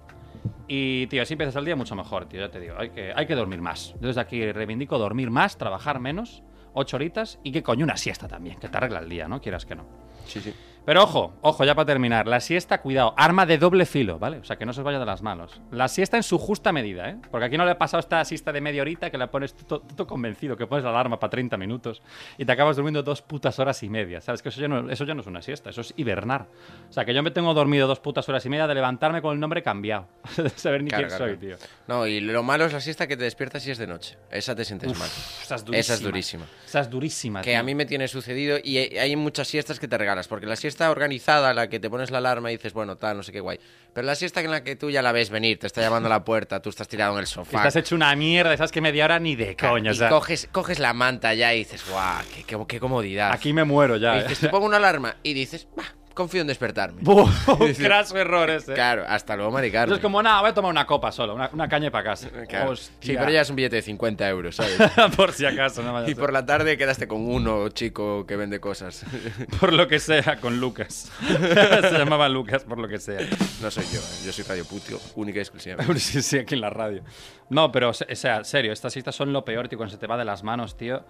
Speaker 1: Y, tío, así empiezas el día mucho mejor, tío. Ya te digo, hay que, hay que dormir más. Yo desde aquí reivindico dormir más, trabajar menos, 8 horitas y que coño una siesta también, que te arregla el día, ¿no? Quieras que no.
Speaker 2: Sí, sí.
Speaker 1: Pero ojo, ojo, ya para terminar. La siesta, cuidado, arma de doble filo, ¿vale? O sea, que no se os vaya de las manos. La siesta en su justa medida, ¿eh? Porque aquí no le ha pasado esta siesta de media horita que la pones todo convencido, que pones la alarma para 30 minutos y te acabas durmiendo dos putas horas y media. ¿Sabes? Que eso ya, no, eso ya no es una siesta, eso es hibernar. O sea, que yo me tengo dormido dos putas horas y media de levantarme con el nombre cambiado. *laughs* de saber ni
Speaker 2: Carga,
Speaker 1: quién soy, tío.
Speaker 2: carga. No, y lo malo es la siesta que te despiertas si es de noche. Esa te sientes mal.
Speaker 1: Uf, esa es durísima.
Speaker 2: Esa es durísima.
Speaker 1: Esa es durísima,
Speaker 2: Que
Speaker 1: tío.
Speaker 2: a mí me tiene sucedido y he- hay muchas siestas que te regalas, porque la siesta organizada, la que te pones la alarma y dices, bueno, tal, no sé qué guay, pero la siesta en la que tú ya la ves venir, te está llamando a la puerta, tú estás tirado en el
Speaker 1: Que
Speaker 2: sofá,
Speaker 1: Estás hecho una mierda, sabes que media hora ni de coño. o
Speaker 2: y
Speaker 1: sea,
Speaker 2: coges, coges la manta ya y dices, guau, qué, qué- qué comodidad.
Speaker 1: aquí me muero
Speaker 2: Y
Speaker 1: ya.
Speaker 2: dices,
Speaker 1: ¿eh?
Speaker 2: te pongo una alarma y dices, bah, confío en despertarme.
Speaker 1: Buh, un craso error ese.
Speaker 2: Claro, hasta luego, Mari Carmen.
Speaker 1: Eso es como, nada, voy a tomar una copa solo, una, una caña para casa.
Speaker 2: Claro. Sí,
Speaker 1: Hostia.
Speaker 2: pero ya es un billete de 50
Speaker 1: *laughs*
Speaker 2: euros, ¿sabes?
Speaker 1: por si acaso, no vaya a
Speaker 2: Y
Speaker 1: ser.
Speaker 2: por la tarde quedaste con uno chico que vende cosas.
Speaker 1: Por lo que sea, con Lucas. *laughs* Se llamaba Lucas, por lo que sea. *laughs*
Speaker 2: No soy yo, ¿eh? yo soy Radio Putio, única y exclusiva.
Speaker 1: sí, sí, aquí en la radio. No, pero, o sea, serio, estas citas son lo peor, tío, cuando se te va de las manos, tío.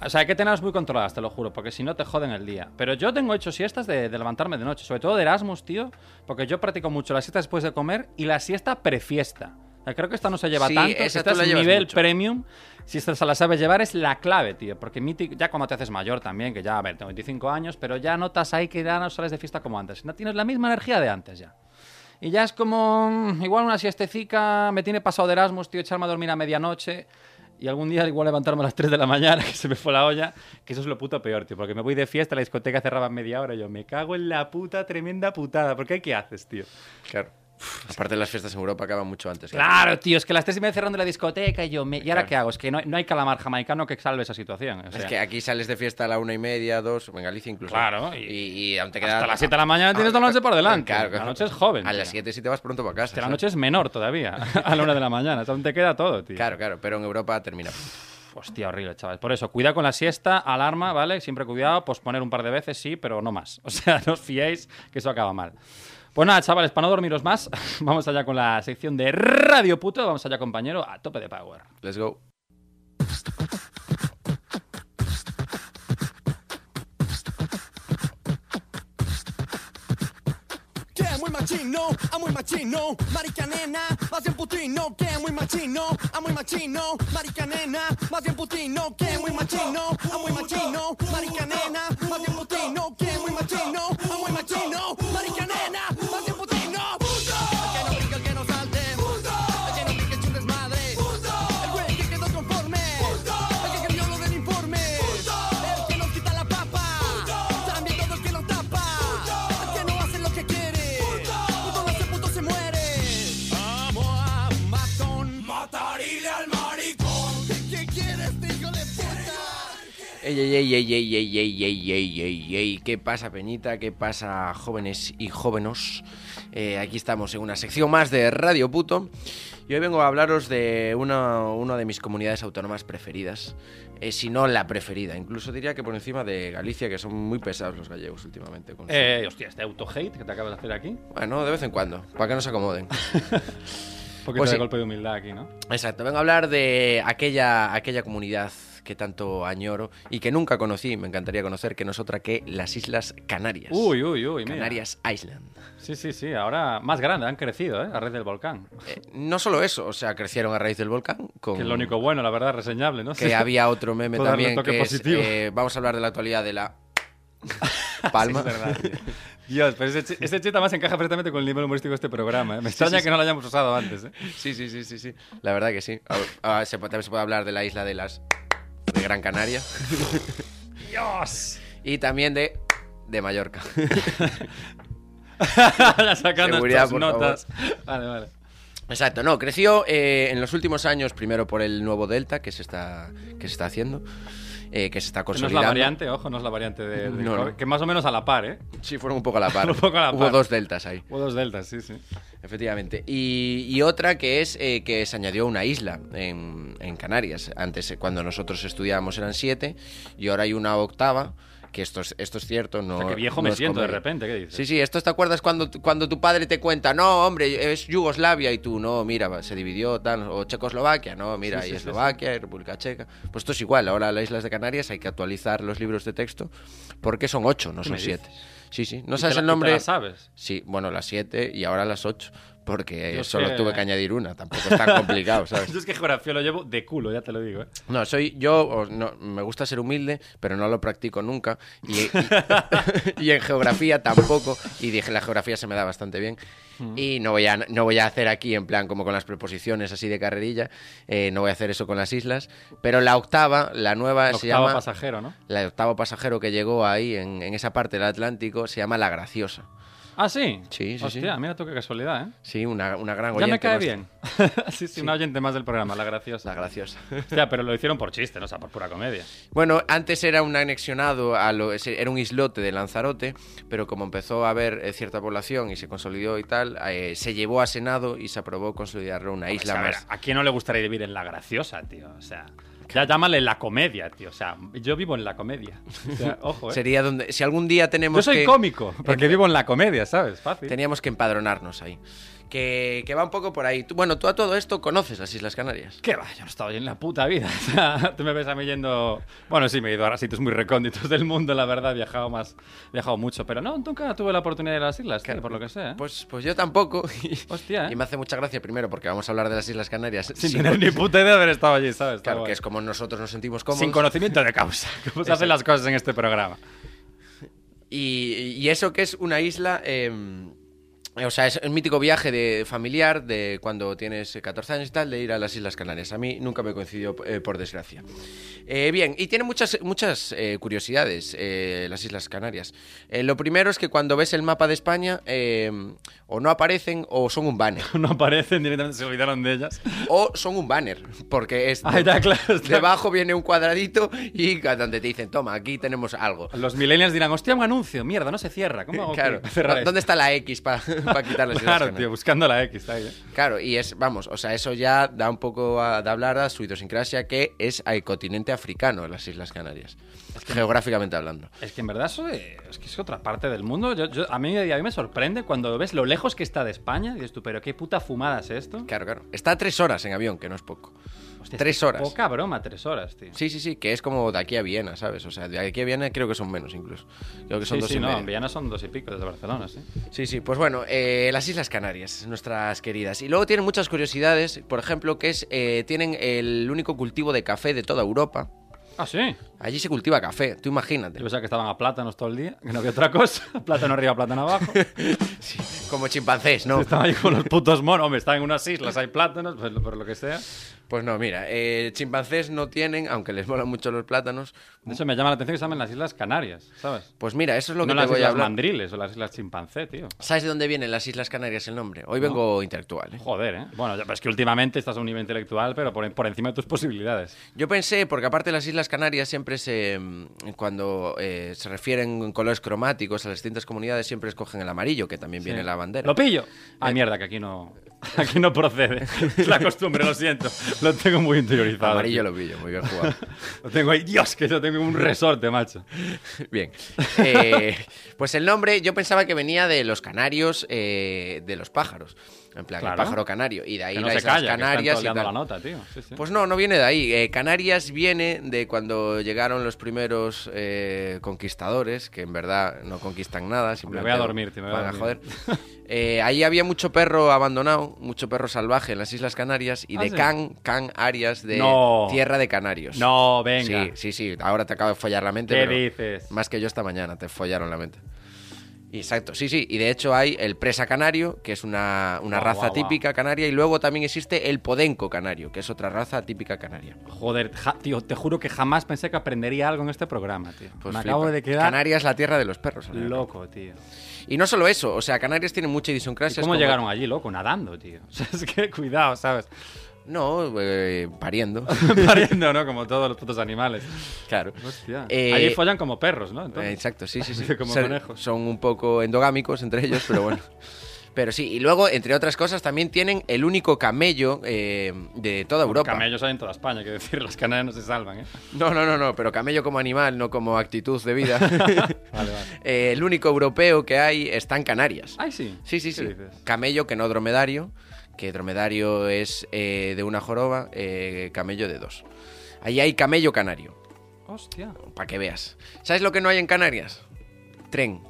Speaker 1: O sea, hay que tenerlas muy controladas, te lo juro, porque si no te joden el día. Pero yo tengo hecho siestas de, de levantarme de noche, sobre todo de Erasmus, tío, porque yo practico mucho la siesta después de comer y la siesta prefiesta. O sea, creo que esta no se lleva
Speaker 2: Sí,
Speaker 1: tanto,
Speaker 2: esa
Speaker 1: si
Speaker 2: tú
Speaker 1: esta
Speaker 2: la
Speaker 1: es
Speaker 2: llevas
Speaker 1: nivel
Speaker 2: mucho.
Speaker 1: premium, si esta se la sabes llevar es la clave, tío, porque mítico- ya cuando te haces mayor también, que ya, a ver, tengo 25 años, pero ya notas ahí que ya no sales de fiesta como antes, no tienes la misma energía de antes ya. Y ya es como, mm, igual una siestecica, me tiene pasado de Erasmus, tío, echarme a dormir a medianoche. Y algún día igual levantarme a las 3 de la mañana, *laughs* que se me fue la olla, que eso es lo puto peor, tío, porque me voy de fiesta, la discoteca cerraba en media hora, y yo me cago en la puta tremenda putada, porque ¿qué haces, tío?
Speaker 2: Claro. Aparte las fiestas en Europa acaban mucho antes.
Speaker 1: Claro, tío, es que a las 3 y media cerrando la discoteca, y yo, me- ¿y ahora
Speaker 2: Claro.
Speaker 1: qué hago? Es que no, no hay calamar jamaicano que salve esa situación. o
Speaker 2: Es
Speaker 1: sea,
Speaker 2: que aquí sales de fiesta a la una y media, dos, en Galicia incluso.
Speaker 1: Claro, y-
Speaker 2: Y, y aún te queda... Ah,
Speaker 1: hasta las 7 de la mañana tienes toda la noche por delante.
Speaker 2: Claro, claro.
Speaker 1: La noche es joven.
Speaker 2: A
Speaker 1: tío.
Speaker 2: las 7 si te vas pronto para casa.
Speaker 1: Que La
Speaker 2: ¿sabes?
Speaker 1: noche es menor todavía, *laughs* a la 1 de la mañana, o sea, aún te queda todo, tío.
Speaker 2: Claro, claro, pero en Europa termina.
Speaker 1: Hostia, horrible, chaval. Por eso, cuidado con la siesta, alarma, ¿vale? Siempre cuidado, posponer un par de veces, sí, pero no más. *laughs* O sea, no os fiéis que eso acaba mal. Pues nada, chavales, para no dormiros más, *laughs* vamos allá con la sección de Radio Puto. Vamos allá, compañero, a tope de power.
Speaker 2: Let's go.
Speaker 4: Que muy machino, ah muy machino, marica nena, más bien putino, que muy machino, ah muy machino, marica nena, más bien putino, que muy machino, ah muy machino, marica nena, más bien putino, que muy machino, ah muy machino, marica nena, más bien putino. El que no pica, el que no salte, el que no pique es un desmadre, el güey que quedó conforme, el que cambió lo del informe, el que nos quita la papa, también todo el que lo tapa, el que no hace lo que quiere, puto no hace puto se muere. Amo a un matón, matarile al maricón. ¿Qué quieres, hijo de puta?
Speaker 2: Ey, ey, ey, ey, ey, ey, ey, ey, ey, ey, ey. ¿Qué pasa, Peñita? ¿Qué pasa, jóvenes y jóvenes? Eh, aquí estamos en una sección más de Radio Puto. Y hoy vengo a hablaros de una, una de mis comunidades autónomas preferidas. Eh, si no la preferida. Incluso diría que por encima de Galicia, que son muy pesados los gallegos últimamente. con su-
Speaker 1: Eh, hostia, este auto-hate que te acabas de hacer aquí. Un
Speaker 2: Bueno, de vez en cuando, para que no
Speaker 1: *laughs*
Speaker 2: se acomoden.
Speaker 1: poquito
Speaker 2: Pues
Speaker 1: de
Speaker 2: sí.
Speaker 1: golpe de humildad aquí, ¿no?
Speaker 2: Exacto, vengo a hablar de aquella, aquella comunidad que tanto añoro y que nunca conocí, me encantaría conocer, que no es otra que las Islas Canarias.
Speaker 1: Uy, uy, uy, mira.
Speaker 2: Canarias Island.
Speaker 1: Sí, sí, sí, ahora más grande, han crecido, ¿eh? A raíz del volcán.
Speaker 2: Eh, no solo eso, o sea, crecieron a raíz del volcán. Con...
Speaker 1: Que es lo único bueno, la verdad, reseñable, ¿no?
Speaker 2: Oh.
Speaker 1: *laughs*
Speaker 2: que
Speaker 1: Sí.
Speaker 2: había otro meme
Speaker 1: Todo darle un
Speaker 2: también
Speaker 1: toque
Speaker 2: que es,
Speaker 1: positivo.
Speaker 2: eh, vamos a hablar de la actualidad
Speaker 1: *laughs*
Speaker 2: de la
Speaker 1: Sí,
Speaker 2: palma.
Speaker 1: es verdad, tío. Dios, pero ese, chi- ese chiste más encaja perfectamente con el nivel humorístico de este programa. ¿eh? Me extraña
Speaker 2: sí,
Speaker 1: que no lo hayamos usado antes.
Speaker 2: *laughs*
Speaker 1: ¿eh? *laughs*
Speaker 2: Sí, sí, sí, sí, sí. La verdad que sí. Ah, ah, se puede- también se puede hablar de la isla de las de Gran Canaria
Speaker 1: *laughs* ¡Dios!
Speaker 2: y también de de Mallorca.
Speaker 1: Ya sacando
Speaker 2: Seguridad,
Speaker 1: estas
Speaker 2: por
Speaker 1: notas. Vale, vale.
Speaker 2: Exacto, no, creció eh, en los últimos años primero por el nuevo Delta que se está, que se está haciendo, eh, que se está
Speaker 1: Que no es
Speaker 2: consolidando.
Speaker 1: la variante, ojo, no es la variante de, del
Speaker 2: No, no.
Speaker 1: COVID, Que más o menos a la par, ¿eh?
Speaker 2: Sí, fueron un poco
Speaker 1: *laughs*
Speaker 2: a la par.
Speaker 1: Un poco a la
Speaker 2: Hubo
Speaker 1: par.
Speaker 2: dos Deltas ahí,
Speaker 1: O dos deltas, sí, sí.
Speaker 2: efectivamente. Y, y otra que es eh, que se añadió una isla en, en Canarias. Antes, eh, cuando nosotros estudiábamos, eran siete y ahora hay una octava. Que esto es, esto es cierto, no.
Speaker 1: O sea, que viejo
Speaker 2: no
Speaker 1: me
Speaker 2: es
Speaker 1: siento de
Speaker 2: comedia.
Speaker 1: repente, ¿qué dices?
Speaker 2: Sí, sí, esto te acuerdas cuando, cuando tu padre te cuenta, no, hombre, es Yugoslavia y tú, no, mira, va, se dividió tal, o Checoslovaquia, no, mira,
Speaker 1: Sí, sí,
Speaker 2: y
Speaker 1: sí,
Speaker 2: Eslovaquia y República Checa. Pues esto es igual, ahora las Islas de Canarias hay que actualizar los libros de texto porque son ocho, no
Speaker 1: ¿Qué
Speaker 2: son
Speaker 1: me
Speaker 2: siete.
Speaker 1: dices?
Speaker 2: Sí, sí. No
Speaker 1: ¿Y
Speaker 2: sabes
Speaker 1: te la- y
Speaker 2: el
Speaker 1: te
Speaker 2: nombre.
Speaker 1: la sabes?
Speaker 2: Sí, bueno, las 7 y ahora las 8, porque
Speaker 1: Yo es
Speaker 2: solo
Speaker 1: que-
Speaker 2: tuve que añadir una, tampoco
Speaker 1: *laughs*
Speaker 2: es tan complicado, ¿sabes?
Speaker 1: Yo es que geografía lo llevo de culo, ya te lo digo. ¿eh?
Speaker 2: No, soy yo, o no, me gusta ser humilde, pero no lo practico nunca. Y, *laughs* y- y en geografía tampoco. Y dije, la geografía se me da bastante bien.
Speaker 1: Mm.
Speaker 2: Y no voy, a, no voy a hacer aquí, en plan, como con las preposiciones así de carrerilla, eh, no voy a hacer eso con las islas. Pero la octava, la nueva,
Speaker 1: El
Speaker 2: Ah, se
Speaker 1: octavo
Speaker 2: llama.
Speaker 1: pasajero, ¿no?
Speaker 2: La octavo pasajero que llegó ahí, en, en esa parte del Atlántico, se llama La Graciosa.
Speaker 1: Ah, sí.
Speaker 2: Sí, sí, sí.
Speaker 1: Hostia, mira tú qué casualidad, ¿eh?
Speaker 2: Sí, una, una gran
Speaker 1: Ya
Speaker 2: oyente.
Speaker 1: me cae
Speaker 2: nuestra.
Speaker 1: *laughs* bien. sí, sí, una oyente más del programa, la graciosa. *laughs*
Speaker 2: La Graciosa.
Speaker 1: Hostia, pero lo hicieron por chiste, ¿no? O sea, por pura comedia.
Speaker 2: Bueno, antes era un anexionado, a lo, ese- era un islote de Lanzarote, pero como empezó a haber eh, cierta población y se consolidó y tal, eh, se llevó a Senado y se aprobó consolidarlo una
Speaker 1: Pues, a
Speaker 2: isla
Speaker 1: ver,
Speaker 2: más.
Speaker 1: ¿a quién no le gustaría vivir en la graciosa, tío? O sea, ya llámale la comedia, tío. O sea, yo vivo en la comedia. O *laughs* sea, ojo, ¿eh?
Speaker 2: Sería donde, si algún día tenemos
Speaker 1: Yo soy
Speaker 2: que-
Speaker 1: cómico, ¿eh? porque vivo en la comedia, ¿sabes? Fácil.
Speaker 2: teníamos que empadronarnos ahí. Que, que va un poco por ahí. Tú- bueno, tú a todo esto conoces las Islas Canarias.
Speaker 1: ¿Qué va? Yo no he estado ahí en la puta vida. *laughs* O sea, tú me ves a mí yendo. Bueno, sí, me he ido a sitios muy recónditos del mundo, la verdad. He viajado más. He viajado mucho, pero no, nunca tuve la oportunidad de ir a las islas, tío, por lo que sé. ¿eh?
Speaker 2: Pues, pues yo tampoco. *laughs* Y,
Speaker 1: Hostia, ¿eh?
Speaker 2: y me hace mucha gracia primero porque vamos a hablar de las Islas Canarias. *laughs*
Speaker 1: Sin
Speaker 2: sin-
Speaker 1: tener ni puta idea de haber estado allí, ¿sabes? Está
Speaker 2: Claro,
Speaker 1: guay.
Speaker 2: que es como nosotros nos sentimos cómodos.
Speaker 1: Sin conocimiento de
Speaker 2: *laughs*
Speaker 1: causa. ¿Cómo se hacen las cosas en este programa? *laughs*
Speaker 2: Y, y eso que es una isla. em, o sea, es un mítico viaje de familiar de cuando tienes 14 años y tal, de ir a las Islas Canarias. A mí nunca me coincidió, eh, por desgracia. Eh, bien, y tiene muchas, muchas eh, curiosidades eh, las Islas Canarias. Eh, lo primero es que cuando ves el mapa de España, em, o no aparecen o son un banner.
Speaker 1: No aparecen directamente, se olvidaron de ellas.
Speaker 2: O son un banner, porque es...
Speaker 1: *laughs* Ah, ya, claro, está.
Speaker 2: Debajo viene un cuadradito y donde te dicen, toma, aquí tenemos algo.
Speaker 1: Los millennials dirán, hostia, un anuncio, mierda, *laughs* no se cierra. ¿Cómo hago
Speaker 2: Claro.
Speaker 1: para cerrar
Speaker 2: ¿Dónde
Speaker 1: esto?
Speaker 2: está la X *laughs* para
Speaker 1: *laughs*
Speaker 2: quitar las
Speaker 1: Claro,
Speaker 2: Islas Canarias?
Speaker 1: tío, buscando la X ahí, ¿eh?
Speaker 2: Claro, y es, vamos, o sea, eso ya da un poco a, de hablar a su idiosincrasia, que es al continente africano, las Islas Canarias, geográficamente hablando.
Speaker 1: Es que en verdad eso eh, es que es otra parte del mundo. Yo- yo- a, mí, a mí me sorprende cuando ves lo lejos que está de España. Dices tú, pero qué puta fumada es esto.
Speaker 2: Claro, claro. Está a tres horas en avión, que no es poco.
Speaker 1: Hostia, es
Speaker 2: tres
Speaker 1: que
Speaker 2: horas.
Speaker 1: Poca broma, tres horas, tío.
Speaker 2: Sí, sí, sí, que es como de aquí a Viena, ¿sabes? O sea, de aquí a Viena creo que son menos incluso. Creo que son
Speaker 1: sí,
Speaker 2: dos
Speaker 1: sí,
Speaker 2: y
Speaker 1: no,
Speaker 2: media.
Speaker 1: en Villana son dos y pico desde Barcelona, sí.
Speaker 2: Sí, sí, pues bueno, eh, las Islas Canarias, nuestras queridas. Y luego tienen muchas curiosidades, por ejemplo, que es, eh, tienen el único cultivo de café de toda Europa.
Speaker 1: Ah, sí.
Speaker 2: Allí se cultiva café, tú imagínate.
Speaker 1: Yo pensaba que estaban a plátanos todo el día, que no que otra cosa. *laughs* Plátano arriba, plátano abajo.
Speaker 2: Como chimpancés, *laughs* ¿no?
Speaker 1: Estaban ahí con los putos monos. Hombre, están en unas islas, hay plátanos, pues, por lo que sea.
Speaker 2: Pues no, mira, eh, chimpancés no tienen, aunque les molan mucho los plátanos.
Speaker 1: De hecho, me llama la atención que están en las Islas Canarias, ¿sabes?
Speaker 2: Pues mira, eso es lo
Speaker 1: no
Speaker 2: que te
Speaker 1: las
Speaker 2: voy a
Speaker 1: Islas
Speaker 2: hablar.
Speaker 1: Mandriles o las Islas Chimpancé, tío.
Speaker 2: ¿Sabes de dónde vienen las Islas Canarias el nombre? Hoy vengo intelectual. ¿eh?
Speaker 1: Joder, ¿eh? Bueno, ya- pero es que últimamente estás a un nivel intelectual, pero por, por encima de tus posibilidades.
Speaker 2: Yo pensé, porque aparte las Islas Canarias siempre se. mm, Cuando eh, se refieren en colores cromáticos a las distintas comunidades, siempre escogen el amarillo, que también viene
Speaker 1: Sí.
Speaker 2: la bandera. Eh.
Speaker 1: ¡Lo pillo! Ah, mierda, que aquí no, *laughs* aquí no procede. *laughs* Es la costumbre, lo siento. Lo tengo muy interiorizado.
Speaker 2: amarillo
Speaker 1: tío.
Speaker 2: lo pillo, muy bien jugado. *laughs*
Speaker 1: Lo tengo ahí. Dios, que yo tengo un resorte, macho.
Speaker 2: Bien. Eh, pues el nombre yo pensaba que venía de los canarios, eh, de los pájaros. En plan,
Speaker 1: Claro.
Speaker 2: el pájaro canario. Y de ahí
Speaker 1: que no
Speaker 2: las
Speaker 1: se
Speaker 2: Islas
Speaker 1: calla, que
Speaker 2: Canarias
Speaker 1: están
Speaker 2: y
Speaker 1: toleando
Speaker 2: tal.
Speaker 1: la nota, tío. Sí, sí.
Speaker 2: Pues no, no viene de ahí. Eh, Canarias viene de cuando llegaron los primeros eh, conquistadores, que en verdad no conquistan nada. Simplemente
Speaker 1: voy a dormir, tío, me voy a
Speaker 2: van
Speaker 1: dormir. *laughs*
Speaker 2: joder. Eh, ahí había mucho perro abandonado, mucho perro salvaje en las Islas Canarias y
Speaker 1: Ah,
Speaker 2: de
Speaker 1: sí.
Speaker 2: Can, Can Arias de
Speaker 1: No.
Speaker 2: Tierra de Canarios.
Speaker 1: No, venga.
Speaker 2: Pues Sí, sí, sí. Ahora te acabo de follar la mente.
Speaker 1: ¿Qué
Speaker 2: pero
Speaker 1: dices?
Speaker 2: Más que yo esta mañana te follaron la mente. Exacto, sí, sí. Y de hecho hay el presa canario, que es una, una
Speaker 1: Guau,
Speaker 2: raza
Speaker 1: guau, guau.
Speaker 2: típica canaria, y luego también existe el podenco canario, que es otra raza típica canaria.
Speaker 1: Joder, ja- tío, te juro que jamás pensé que aprendería algo en este programa, tío.
Speaker 2: Pues
Speaker 1: Me
Speaker 2: flipa.
Speaker 1: acabo de quedar
Speaker 2: Canarias es la tierra de los perros. al fin y al cabo.
Speaker 1: loco, tío.
Speaker 2: Y no solo eso, o sea, Canarias tiene mucha
Speaker 1: ¿Y
Speaker 2: idiosincrasia.
Speaker 1: ¿Cómo llegaron allí, loco? Nadando, tío. *laughs* O sea, es que cuidado, ¿sabes? *laughs*
Speaker 2: No, eh, pariendo.
Speaker 1: Pariendo, ¿no? Como todos los putos animales.
Speaker 2: claro.
Speaker 1: Hostia.
Speaker 2: Eh,
Speaker 1: allí follan como perros, ¿no? Entonces.
Speaker 2: Eh, Exacto, sí,
Speaker 1: *laughs*
Speaker 2: sí, sí.
Speaker 1: Como
Speaker 2: Son-
Speaker 1: conejos.
Speaker 2: Son un poco endogámicos entre ellos,
Speaker 1: *laughs*
Speaker 2: pero bueno. Pero sí, y luego, entre otras cosas, también tienen el único camello eh, de toda Europa.
Speaker 1: Camellos hay en toda España, quiero decir, las canarias no se salvan, ¿eh?
Speaker 2: No, no, no, no, pero camello como animal, no como actitud de vida.
Speaker 1: *laughs*
Speaker 2: *laughs*
Speaker 1: Vale, vale.
Speaker 2: Eh, el único europeo que hay está en Canarias.
Speaker 1: Ay, sí.
Speaker 2: Sí, sí,
Speaker 1: ¿Qué
Speaker 2: sí.
Speaker 1: dices?
Speaker 2: Camello que no dromedario, que dromedario es eh, de una joroba, eh, camello de dos. Ahí hay camello canario,
Speaker 1: Hostia. *laughs*
Speaker 2: para que veas. ¿Sabes lo que no hay en Canarias? Tren.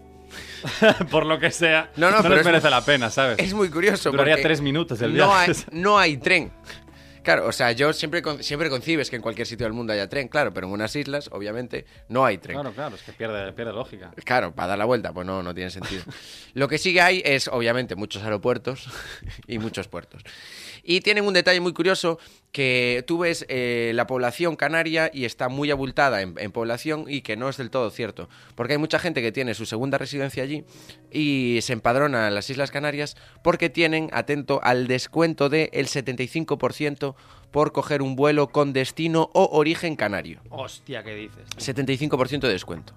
Speaker 1: por lo que sea,
Speaker 2: No,
Speaker 1: no,
Speaker 2: no, pero
Speaker 1: les
Speaker 2: es-
Speaker 1: merece la pena, ¿sabes?
Speaker 2: Es muy curioso.
Speaker 1: Duraría
Speaker 2: porque
Speaker 1: tres minutos el
Speaker 2: no
Speaker 1: viaje.
Speaker 2: hay,
Speaker 1: *laughs*
Speaker 2: no hay tren. Claro, o sea, yo siempre, con- siempre concibes que en cualquier sitio del mundo haya tren, claro, pero en unas islas, obviamente, no hay tren.
Speaker 1: Claro, claro, es que pierde, pierde lógica.
Speaker 2: Claro, para dar la vuelta, pues no, no tiene sentido. Lo que sí que hay es, obviamente, muchos aeropuertos *laughs* y muchos puertos. Y tienen un detalle muy curioso, que tú ves eh, la población canaria y está muy abultada en, en población y que no es del todo cierto. Porque hay mucha gente que tiene su segunda residencia allí y se empadrona en las Islas Canarias porque tienen, atento, al descuento del 75% por coger un vuelo con destino o origen canario.
Speaker 1: Hostia, ¿qué dices?
Speaker 2: 75% de descuento.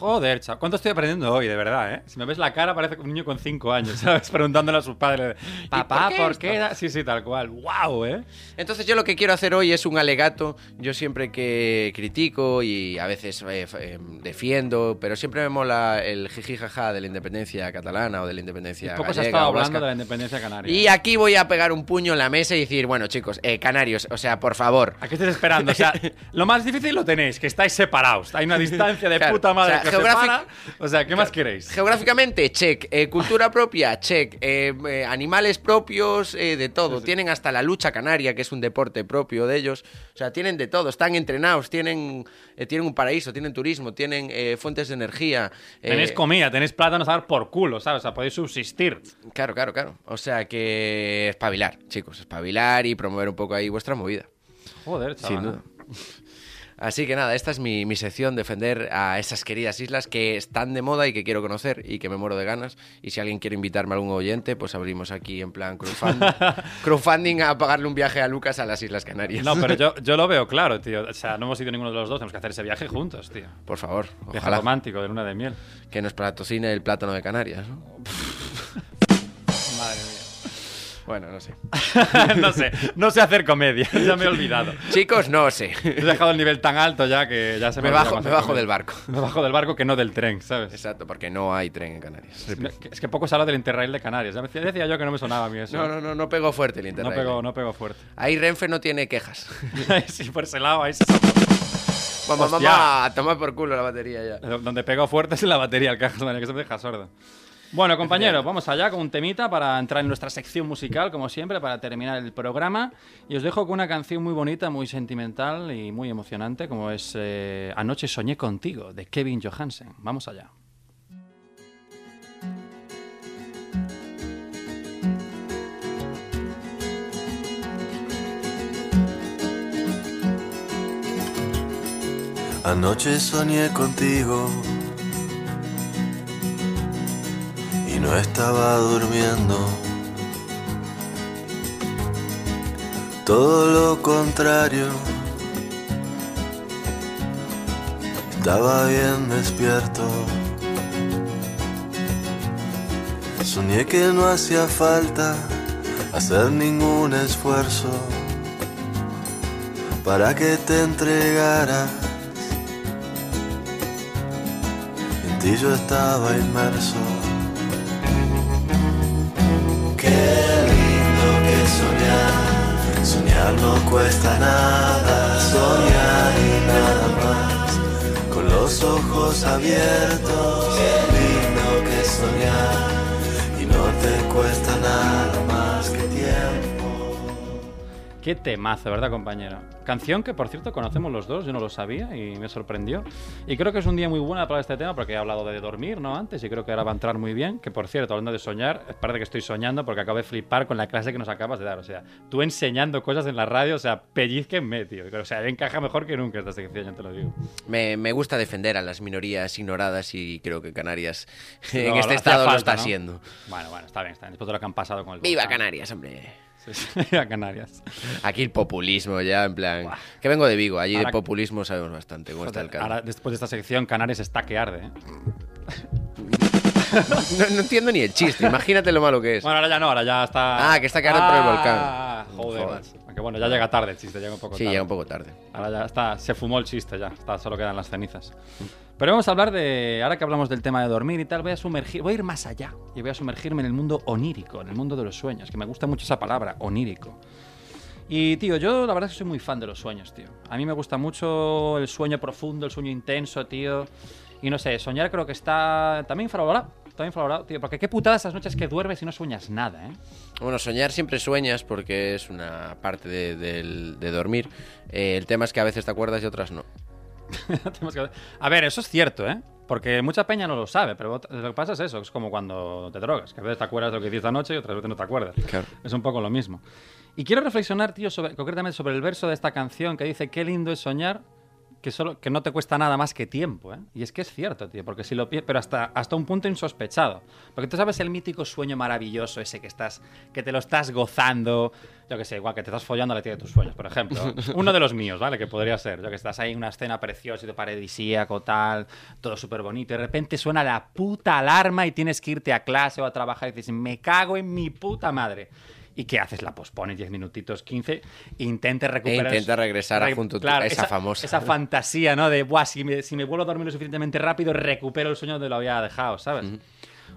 Speaker 1: Joder, chaval. ¿Cuánto estoy aprendiendo hoy, de verdad, eh? Si me ves la cara, parece un niño con 5 años, *laughs* ¿sabes? Preguntándole a su padre. "¿Y Papá,
Speaker 2: por qué
Speaker 1: ¿por
Speaker 2: esto?".
Speaker 1: qué? da-?". Sí, sí, tal cual. ¡Wow, eh!
Speaker 2: Entonces yo lo que quiero hacer hoy es un alegato. Yo siempre que critico y a veces eh, f- eh, defiendo, pero siempre me mola el jiji jaja de la independencia catalana o de
Speaker 1: Y
Speaker 2: la independencia
Speaker 1: poco se ha
Speaker 2: gallega
Speaker 1: estado
Speaker 2: o
Speaker 1: hablando de la
Speaker 2: vasca.
Speaker 1: independencia canaria.
Speaker 2: Y aquí voy a pegar un puño en la mesa y decir, bueno chicos, eh, canarios, o sea, por favor.
Speaker 1: ¿A qué estáis esperando? O sea,
Speaker 2: *laughs*
Speaker 1: lo más difícil lo tenéis, que estáis separados. Hay una distancia de
Speaker 2: Claro,
Speaker 1: puta madre
Speaker 2: o sea,
Speaker 1: que os
Speaker 2: geográfic-
Speaker 1: separa. O sea, ¿qué más queréis?
Speaker 2: Geográficamente, check. Eh, cultura propia, check. Eh, eh, animales propios, eh, de todo. Tienen hasta la lucha canaria, que es un deporte propio de ellos. O sea, tienen de todo. Están entrenados, tienen, eh, tienen un paraíso, tienen turismo, tienen eh, fuentes de energía. eh,
Speaker 1: Tenéis comida, tenéis plátanos a dar por culo, ¿sabes? O sea, podéis subsistir.
Speaker 2: Claro, claro, claro. O sea que espabilar, chicos. Espabilar y promover un poco ahí vuestra movida.
Speaker 1: Joder, chaval.
Speaker 2: Sin duda. Así que nada, esta es mi, mi sección, defender a esas queridas islas que están de moda y que quiero conocer y que me muero de ganas. Y si alguien quiere invitarme a algún oyente, pues abrimos aquí en plan crowdfunding,
Speaker 1: *laughs*
Speaker 2: crowdfunding a pagarle un viaje a Lucas a las Islas Canarias.
Speaker 1: No, pero
Speaker 2: *laughs*
Speaker 1: yo, yo lo veo claro, tío. O sea, no hemos ido ninguno de los dos, tenemos que hacer ese viaje juntos, tío.
Speaker 2: Por favor,
Speaker 1: Viaje
Speaker 2: ojalá
Speaker 1: romántico de luna de miel.
Speaker 2: que nos patrocine el plátano de Canarias. ¿no?
Speaker 1: *laughs* Madre mía.
Speaker 2: Bueno, no sé.
Speaker 1: *laughs* no sé, no sé hacer comedia, *laughs* ya me he olvidado.
Speaker 2: Chicos, no sé.
Speaker 1: *laughs* He dejado el nivel tan alto ya que ya se me
Speaker 2: Me
Speaker 1: olvida
Speaker 2: bajo,
Speaker 1: más
Speaker 2: me
Speaker 1: hacer
Speaker 2: bajo
Speaker 1: comedia.
Speaker 2: del barco.
Speaker 1: Me bajo del barco que no del tren, ¿sabes?
Speaker 2: Exacto, porque no hay tren en Canarias.
Speaker 1: Es que- Es que poco se habla del Interrail de Canarias. Ya me decía- decía yo que no me sonaba a mí eso.
Speaker 2: No, no, no, no pegó fuerte el
Speaker 1: No
Speaker 2: internet. ¿eh?
Speaker 1: pegó, no pegó fuerte. *laughs*
Speaker 2: Ahí Renfe no tiene quejas.
Speaker 1: sí, por ese lado, ahí se-
Speaker 2: Mamá,
Speaker 1: Hostia.
Speaker 2: mamá, toma por culo la batería ya.
Speaker 1: Donde pegó fuerte es en la batería, el cajas, madre, que se me deja sordo. Bueno, compañeros, vamos allá con un temita para entrar en nuestra sección musical, como siempre, para terminar el programa. Y os dejo con una canción muy bonita, muy sentimental y muy emocionante, como es eh, Anoche soñé contigo, de Kevin Johansen. Vamos allá.
Speaker 5: Anoche soñé contigo y no estaba durmiendo. Todo lo contrario, estaba bien despierto. Soñé que no hacía falta hacer ningún esfuerzo para que te entregaras. en ti yo estaba inmerso. Qué lindo que soñar, soñar no cuesta nada, soñar y nada más, con los ojos abiertos. Qué lindo que soñar, y no te cuesta nada más que tiempo.
Speaker 1: Qué temazo, ¿verdad, compañero? Canción que, por cierto, conocemos los dos, yo no lo sabía y me sorprendió. Y creo que es un día muy bueno para este tema porque he hablado de dormir, ¿no? Antes y creo que ahora va a entrar muy bien. Que, por cierto, hablando de soñar, parece que estoy soñando porque acabo de flipar con la clase que nos acabas de dar. O sea, tú enseñando cosas en la radio, o sea, pellizquenme, tío. O sea, encaja mejor que nunca esta sección, ya te lo digo.
Speaker 2: Me, me gusta defender a las minorías ignoradas y creo
Speaker 1: *laughs*
Speaker 2: que Canarias en
Speaker 1: No,
Speaker 2: este
Speaker 1: hacía
Speaker 2: estado lo
Speaker 1: falta,
Speaker 2: está
Speaker 1: ¿no?
Speaker 2: haciendo.
Speaker 1: Bueno, bueno, está bien, está bien. Después de lo que han pasado con el...
Speaker 2: ¡Viva
Speaker 1: volcán.
Speaker 2: Canarias, hombre!
Speaker 1: Sí, sí, *laughs* viva Canarias.
Speaker 2: Aquí el populismo ya, en plan... Que vengo de Vigo, allí
Speaker 1: Ahora-
Speaker 2: de populismo sabemos bastante cómo está el
Speaker 1: Joder,
Speaker 2: caldo.
Speaker 1: ahora, después de esta sección, Canarias está que arde, ¿eh?
Speaker 2: No, no entiendo ni el chiste, imagínate lo malo que es.
Speaker 1: Bueno, ahora ya no, ahora ya está.
Speaker 2: Ah, que está quedando por el volcán.
Speaker 1: Ah, Joder,
Speaker 2: Joder.
Speaker 1: macho. Aunque bueno, ya llega tarde el chiste, llega un poco
Speaker 2: sí,
Speaker 1: tarde.
Speaker 2: llega un poco tarde.
Speaker 1: Ahora ya está, se fumó el chiste ya, está, solo quedan las cenizas. Pero vamos a hablar de, ahora que hablamos del tema de dormir y tal, voy a sumergir, voy a ir más allá y voy a sumergirme en el mundo onírico, en el mundo de los sueños, que me gusta mucho esa palabra, onírico. Y tío, yo la verdad es que soy muy fan de los sueños, tío. A mí me gusta mucho el sueño profundo, el sueño intenso, tío. Y no sé, soñar creo que está también infravalorado. Está infravalorado, tío. Porque qué putada esas noches que duermes y no sueñas nada, ¿eh?
Speaker 2: Bueno, soñar siempre sueñas porque es una parte de, del- de dormir. Eh, el tema es que a veces te acuerdas y otras no.
Speaker 1: *laughs* Tenemos que- A ver, eso es cierto, ¿eh? Porque mucha peña no lo sabe, pero ot- lo que pasa es eso, es como cuando te drogas, que a veces te acuerdas de lo que hiciste anoche y otras veces no te acuerdas.
Speaker 2: Claro.
Speaker 1: Es un poco lo mismo. Y quiero reflexionar, tío, sobre, concretamente sobre el verso de esta canción que dice, qué lindo es soñar, que, solo, que no te cuesta nada más que tiempo, ¿eh? Y es que es cierto, tío, porque si lo pi- pero hasta, hasta un punto insospechado. Porque tú sabes el mítico sueño maravilloso ese que estás, que te lo estás gozando, yo que sé, igual que te estás follando a la tía de tus sueños, por ejemplo. Uno de los míos, ¿vale? Que podría ser, yo que estás ahí en una escena preciosa, y te paradisíaco, tal, todo súper bonito, y de repente suena la puta alarma y tienes que irte a clase o a trabajar y dices, me cago en mi puta madre. ¿Y qué haces? La pospones 10 minutitos, 15, e intentes recuperar...
Speaker 2: intenta regresar a junto a tu- a esa famosa.
Speaker 1: Esa fantasía, ¿no? De, buah, si me, si me vuelvo a dormir lo suficientemente rápido, recupero el sueño donde lo había dejado, ¿sabes?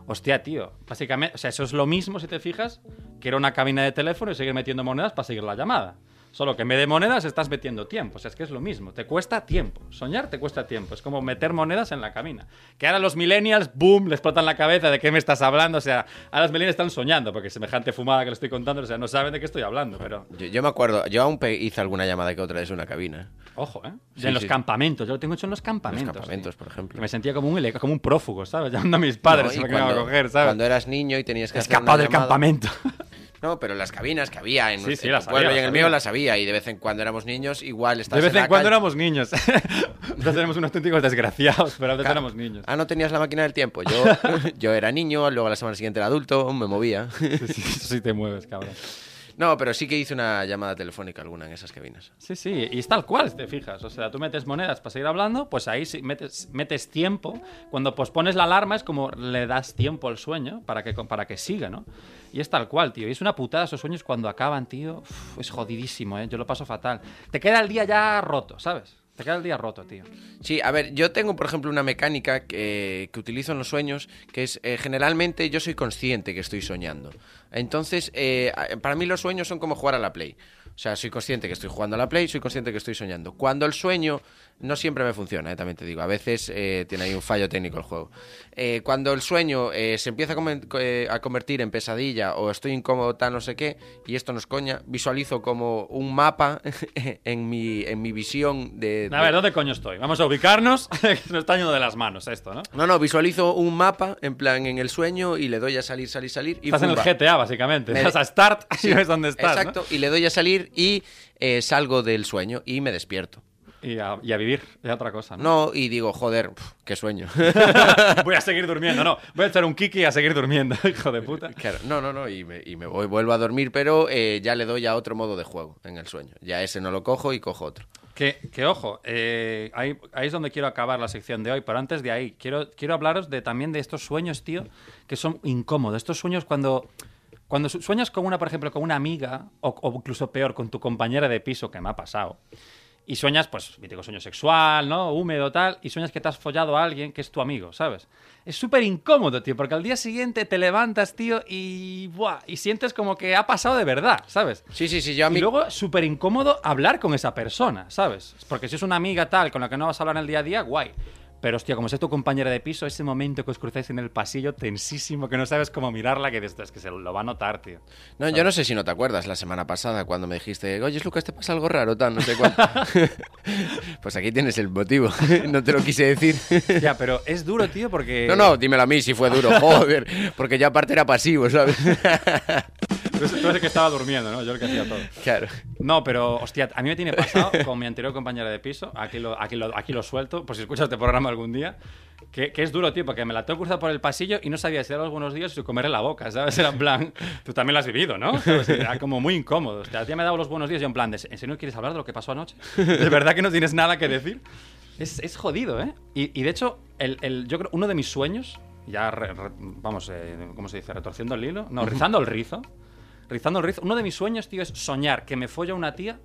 Speaker 1: Hostia, tío. Básicamente, o sea, eso es lo mismo, si te fijas, que era una cabina de teléfono y seguir metiendo monedas para seguir la llamada. Solo que en vez de monedas estás metiendo tiempo. O sea, es que es lo mismo. Te cuesta tiempo. Soñar te cuesta tiempo. Es como meter monedas en la cabina. Que ahora los millennials, boom, les explotan la cabeza de qué me estás hablando. O sea, ahora los millennials están soñando porque semejante fumada que les estoy contando, o sea, no saben de qué estoy hablando, pero...
Speaker 2: Yo, yo me acuerdo, yo aún pe- hice alguna llamada que otra vez en una cabina.
Speaker 1: Ojo, ¿eh?
Speaker 2: Sí,
Speaker 1: en los
Speaker 2: sí.
Speaker 1: campamentos. Yo lo tengo hecho en los campamentos.
Speaker 2: En los campamentos,
Speaker 1: tío.
Speaker 2: por ejemplo.
Speaker 1: Que me sentía como un, ele- como un prófugo, ¿sabes? *laughs* Llamando a mis padres
Speaker 2: No, y
Speaker 1: y me iban a coger, ¿sabes?
Speaker 2: cuando eras niño y tenías que hacer una
Speaker 1: Escapado del
Speaker 2: llamada-
Speaker 1: campamento.
Speaker 2: No, pero las cabinas que había en,
Speaker 1: Sí, sí,
Speaker 2: en
Speaker 1: las
Speaker 2: tu pueblo
Speaker 1: había,
Speaker 2: y en
Speaker 1: las
Speaker 2: el mío
Speaker 1: había.
Speaker 2: las había y de vez en cuando éramos niños igual estabas
Speaker 1: De vez
Speaker 2: la
Speaker 1: en cuando
Speaker 2: calle-
Speaker 1: éramos niños. *laughs* Entonces éramos unos auténticos desgraciados, pero a veces éramos niños.
Speaker 2: Ah, no tenías la máquina del tiempo. Yo, yo era niño, luego la semana siguiente era adulto, me movía.
Speaker 1: *laughs*
Speaker 2: *laughs*
Speaker 1: Sí, sí, eso sí te mueves, cabrón.
Speaker 2: No, pero sí que hice una llamada telefónica alguna en esas cabinas.
Speaker 1: Sí, sí, y es tal cual, te fijas. O sea, tú metes monedas para seguir hablando, pues ahí sí metes, metes tiempo. Cuando pospones la alarma es como le das tiempo al sueño para que, para que siga, ¿no? Y es tal cual, tío. Y es una putada esos sueños cuando acaban, tío. Uf, es jodidísimo, ¿eh? Yo lo paso fatal. Te queda el día ya roto, ¿sabes? Te queda el día roto, tío.
Speaker 2: Sí, a ver, yo tengo, por ejemplo, una mecánica que, que utilizo en los sueños, que es eh, generalmente yo soy consciente que estoy soñando. Entonces, eh, a- para mí los sueños son como jugar a la Play. O sea, soy consciente que estoy jugando a la Play, soy consciente que estoy soñando. Cuando el sueño no siempre me funciona, eh, también te digo, a veces eh, tiene ahí un fallo técnico el juego. Eh, cuando el sueño eh, se empieza a, comen- co- eh, a convertir en pesadilla o estoy incómodo, tal, no sé qué, y esto nos coña, visualizo como un mapa *laughs* en, mi, en mi visión de...
Speaker 1: A
Speaker 2: de-
Speaker 1: ver, ¿dónde coño estoy? Vamos a ubicarnos. *laughs* Nos está yendo de las manos esto, ¿no?
Speaker 2: No, no, visualizo un mapa en plan en el sueño y le doy a salir, salir, salir. Y
Speaker 1: Estás en el
Speaker 2: ¡pumba!
Speaker 1: GTA, básicamente. *laughs*
Speaker 2: Me-
Speaker 1: Estás a Start y ves dónde estás. ¿no?
Speaker 2: Exacto, y le doy a salir y eh, salgo del sueño y me despierto.
Speaker 1: Y a, y a vivir, es otra cosa. ¿no?
Speaker 2: No, y digo, joder, pf, qué sueño. *laughs*
Speaker 1: *laughs* voy a seguir durmiendo, no. Voy a echar un kiki y a seguir durmiendo, *laughs* hijo de puta.
Speaker 2: Claro, no, no, no, y me, y me voy, vuelvo a dormir, pero eh, ya le doy a otro modo de juego en el sueño. Ya ese no lo cojo y cojo otro.
Speaker 1: Que, que ojo, eh, ahí, ahí es donde quiero acabar la sección de hoy, pero antes de ahí, quiero, quiero hablaros de, también de estos sueños, tío, que son incómodos. Estos sueños cuando, cuando su- sueñas con una, por ejemplo, con una amiga, o, o incluso peor, con tu compañera de piso, que me ha pasado. Y sueñas, pues, mítico sueño sexual, ¿no? Húmedo, tal. Y sueñas que te has follado a alguien que es tu amigo, ¿sabes? Es súper incómodo, tío, porque al día siguiente te levantas, tío, y. Buah, y sientes como que ha pasado de verdad, ¿sabes?
Speaker 2: Sí, sí, sí, yo a mí...
Speaker 1: Y luego, súper incómodo hablar con esa persona, ¿sabes? Porque si es una amiga tal, con la que no vas a hablar en el día a día, guay. Pero, hostia, como sea tu compañera de piso, ese momento que os cruzáis en el pasillo tensísimo, que no sabes cómo mirarla, que dices, es que se lo va a notar, tío.
Speaker 2: No, yo no sé si no te acuerdas la semana pasada cuando me dijiste, oye, Lucas, te pasa algo raro, tal, no sé
Speaker 1: *laughs*
Speaker 2: cuánto. *laughs* pues aquí tienes el motivo, *laughs* no te lo quise decir.
Speaker 1: Ya, pero es duro, tío, porque...
Speaker 2: No, no, dímelo a mí si
Speaker 1: *laughs*
Speaker 2: fue duro, joder, porque ya aparte era pasivo, ¿sabes?
Speaker 1: Tú eres- tú eres el que estaba durmiendo, ¿no? Yo el que hacía todo.
Speaker 2: Claro.
Speaker 1: No, pero, hostia, a mí me tiene pasado *laughs* con mi anterior compañera de piso, aquí lo, aquí lo, aquí lo suelto, por si escuchas este programa algún día, que, que es duro, tío, porque me la tengo cruzada por el pasillo y no sabía si dar algunos días o si comerle la boca, ¿sabes? Era en plan, tú también lo has vivido, ¿no? ¿Sabes? Era como muy incómodo. Hostia, tía me ha dado los buenos días y yo en plan, ¿en serio quieres hablar de lo que pasó anoche? ¿De verdad que no tienes nada que decir? Es, es jodido, ¿eh? Y, y de hecho, el, el- yo creo uno de mis sueños, ya, re- re- vamos, eh, ¿cómo se dice? ¿Retorciendo el hilo? No, rizando el rizo. Rizando el rizo. Uno de mis sueños, tío, es soñar que me folla una tía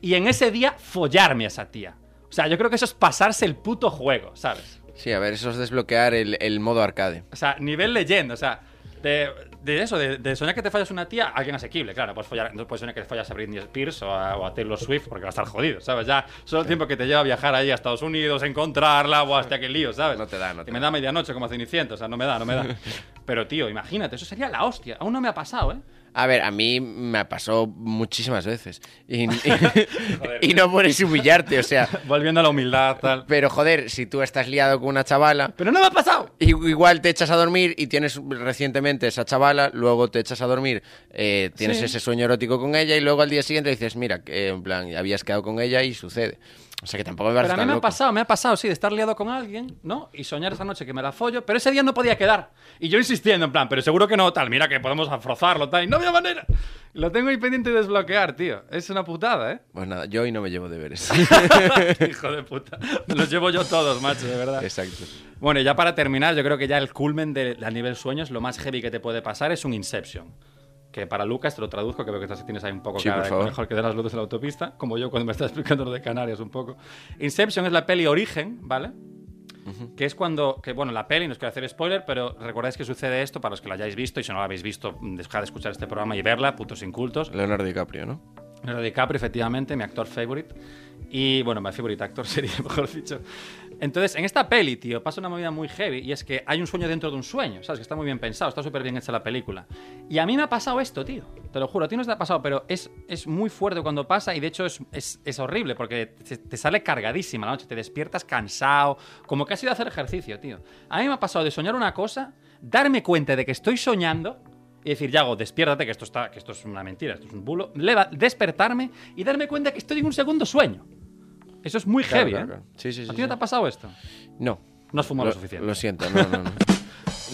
Speaker 1: y en ese día follarme a esa tía. O sea, yo creo que eso es pasarse el puto juego, ¿sabes?
Speaker 2: Sí, a ver, eso es desbloquear el, el modo arcade.
Speaker 1: O sea, nivel leyenda, o sea, te, de eso, de, de soñar que te fallas una tía, alguien asequible, claro. Puedes follar, no puedes soñar que te fallas a Britney Spears o a, o a Taylor Swift porque va a estar jodido, ¿sabes? Ya solo el tiempo que te lleva a viajar ahí a Estados Unidos, encontrarla o hasta aquel lío, ¿sabes?
Speaker 2: No te da, no te
Speaker 1: Y me
Speaker 2: da.
Speaker 1: da medianoche como a Cenicienta, o sea, no me da, no me
Speaker 2: *laughs*
Speaker 1: da. Pero tío, imagínate, eso sería la hostia. Aún no me ha pasado, ¿eh?
Speaker 2: A ver, a mí me pasó muchísimas veces.
Speaker 1: *laughs*
Speaker 2: Y, y- y no puedes humillarte, o sea.
Speaker 1: Volviendo a la humildad, tal.
Speaker 2: Pero joder, si tú estás liado con una chavala,
Speaker 1: Pero no me ha pasado.
Speaker 2: i- igual te echas a dormir y tienes recientemente esa chavala, luego te echas a dormir, eh, tienes
Speaker 1: Sí.
Speaker 2: ese sueño erótico con ella y luego al día siguiente dices, mira, que, eh, en plan, habías quedado con ella y sucede. O sea que tampoco me parece
Speaker 1: Pero a mí
Speaker 2: tan
Speaker 1: me ha
Speaker 2: loco.
Speaker 1: pasado, me ha pasado, sí, de estar liado con alguien, ¿no? Y soñar esa noche que me la follo, pero ese día no podía quedar. Y yo insistiendo, en plan, pero seguro que no, tal, mira que podemos afrozarlo, tal, y no había manera. Lo tengo ahí pendiente de desbloquear, tío. Es una putada, ¿eh? *laughs*
Speaker 2: Pues nada, yo hoy no me llevo deberes.
Speaker 1: Hijo de puta. Me los llevo yo todos, macho, de verdad.
Speaker 2: Exacto.
Speaker 1: Bueno, y ya para terminar, yo creo que ya el culmen de, a nivel sueños, lo más heavy que te puede pasar es un Inception. Que para Lucas te lo traduzco, que veo que estás- tienes ahí un poco
Speaker 2: Sí,
Speaker 1: cara
Speaker 2: por
Speaker 1: de
Speaker 2: favor.
Speaker 1: mejor que de las luces de la autopista, como yo cuando me estaba explicando lo de Canarias un poco. Inception es la peli Origen, ¿vale? Que es cuando, que bueno, la peli, no os quiero hacer spoiler, pero recordáis que sucede esto para los que la hayáis visto y si no la habéis visto, dejad de escuchar este programa y verla, putos incultos.
Speaker 2: Leonardo DiCaprio, ¿no?
Speaker 1: Leonardo DiCaprio, efectivamente, mi actor favorite. Y bueno, mi favorite actor *laughs* sería, mejor dicho. Entonces, en esta peli, tío, pasa una movida muy heavy y es que hay un sueño dentro de un sueño, ¿sabes? Que está muy bien pensado, está súper bien hecha la película. Y a mí me ha pasado esto, tío. Te lo juro, a ti no te ha pasado, pero es, es muy fuerte cuando pasa y de hecho es, es- es horrible porque te, te sale cargadísima la noche, te despiertas cansado, como que has ido a hacer ejercicio, tío. A mí me ha pasado de soñar una cosa, darme cuenta de que estoy soñando y decir, Yago, despiértate, que esto, está, que esto es una mentira, esto es un bulo. Leva- despertarme y darme cuenta que estoy en un segundo sueño. Eso es muy
Speaker 2: Claro,
Speaker 1: heavy,
Speaker 2: claro,
Speaker 1: ¿eh?
Speaker 2: claro. Sí, sí,
Speaker 1: ¿A
Speaker 2: sí,
Speaker 1: ti
Speaker 2: sí.
Speaker 1: no te ha pasado esto?
Speaker 2: No.
Speaker 1: No has fumado lo, suficiente.
Speaker 2: Lo siento, no, no, no.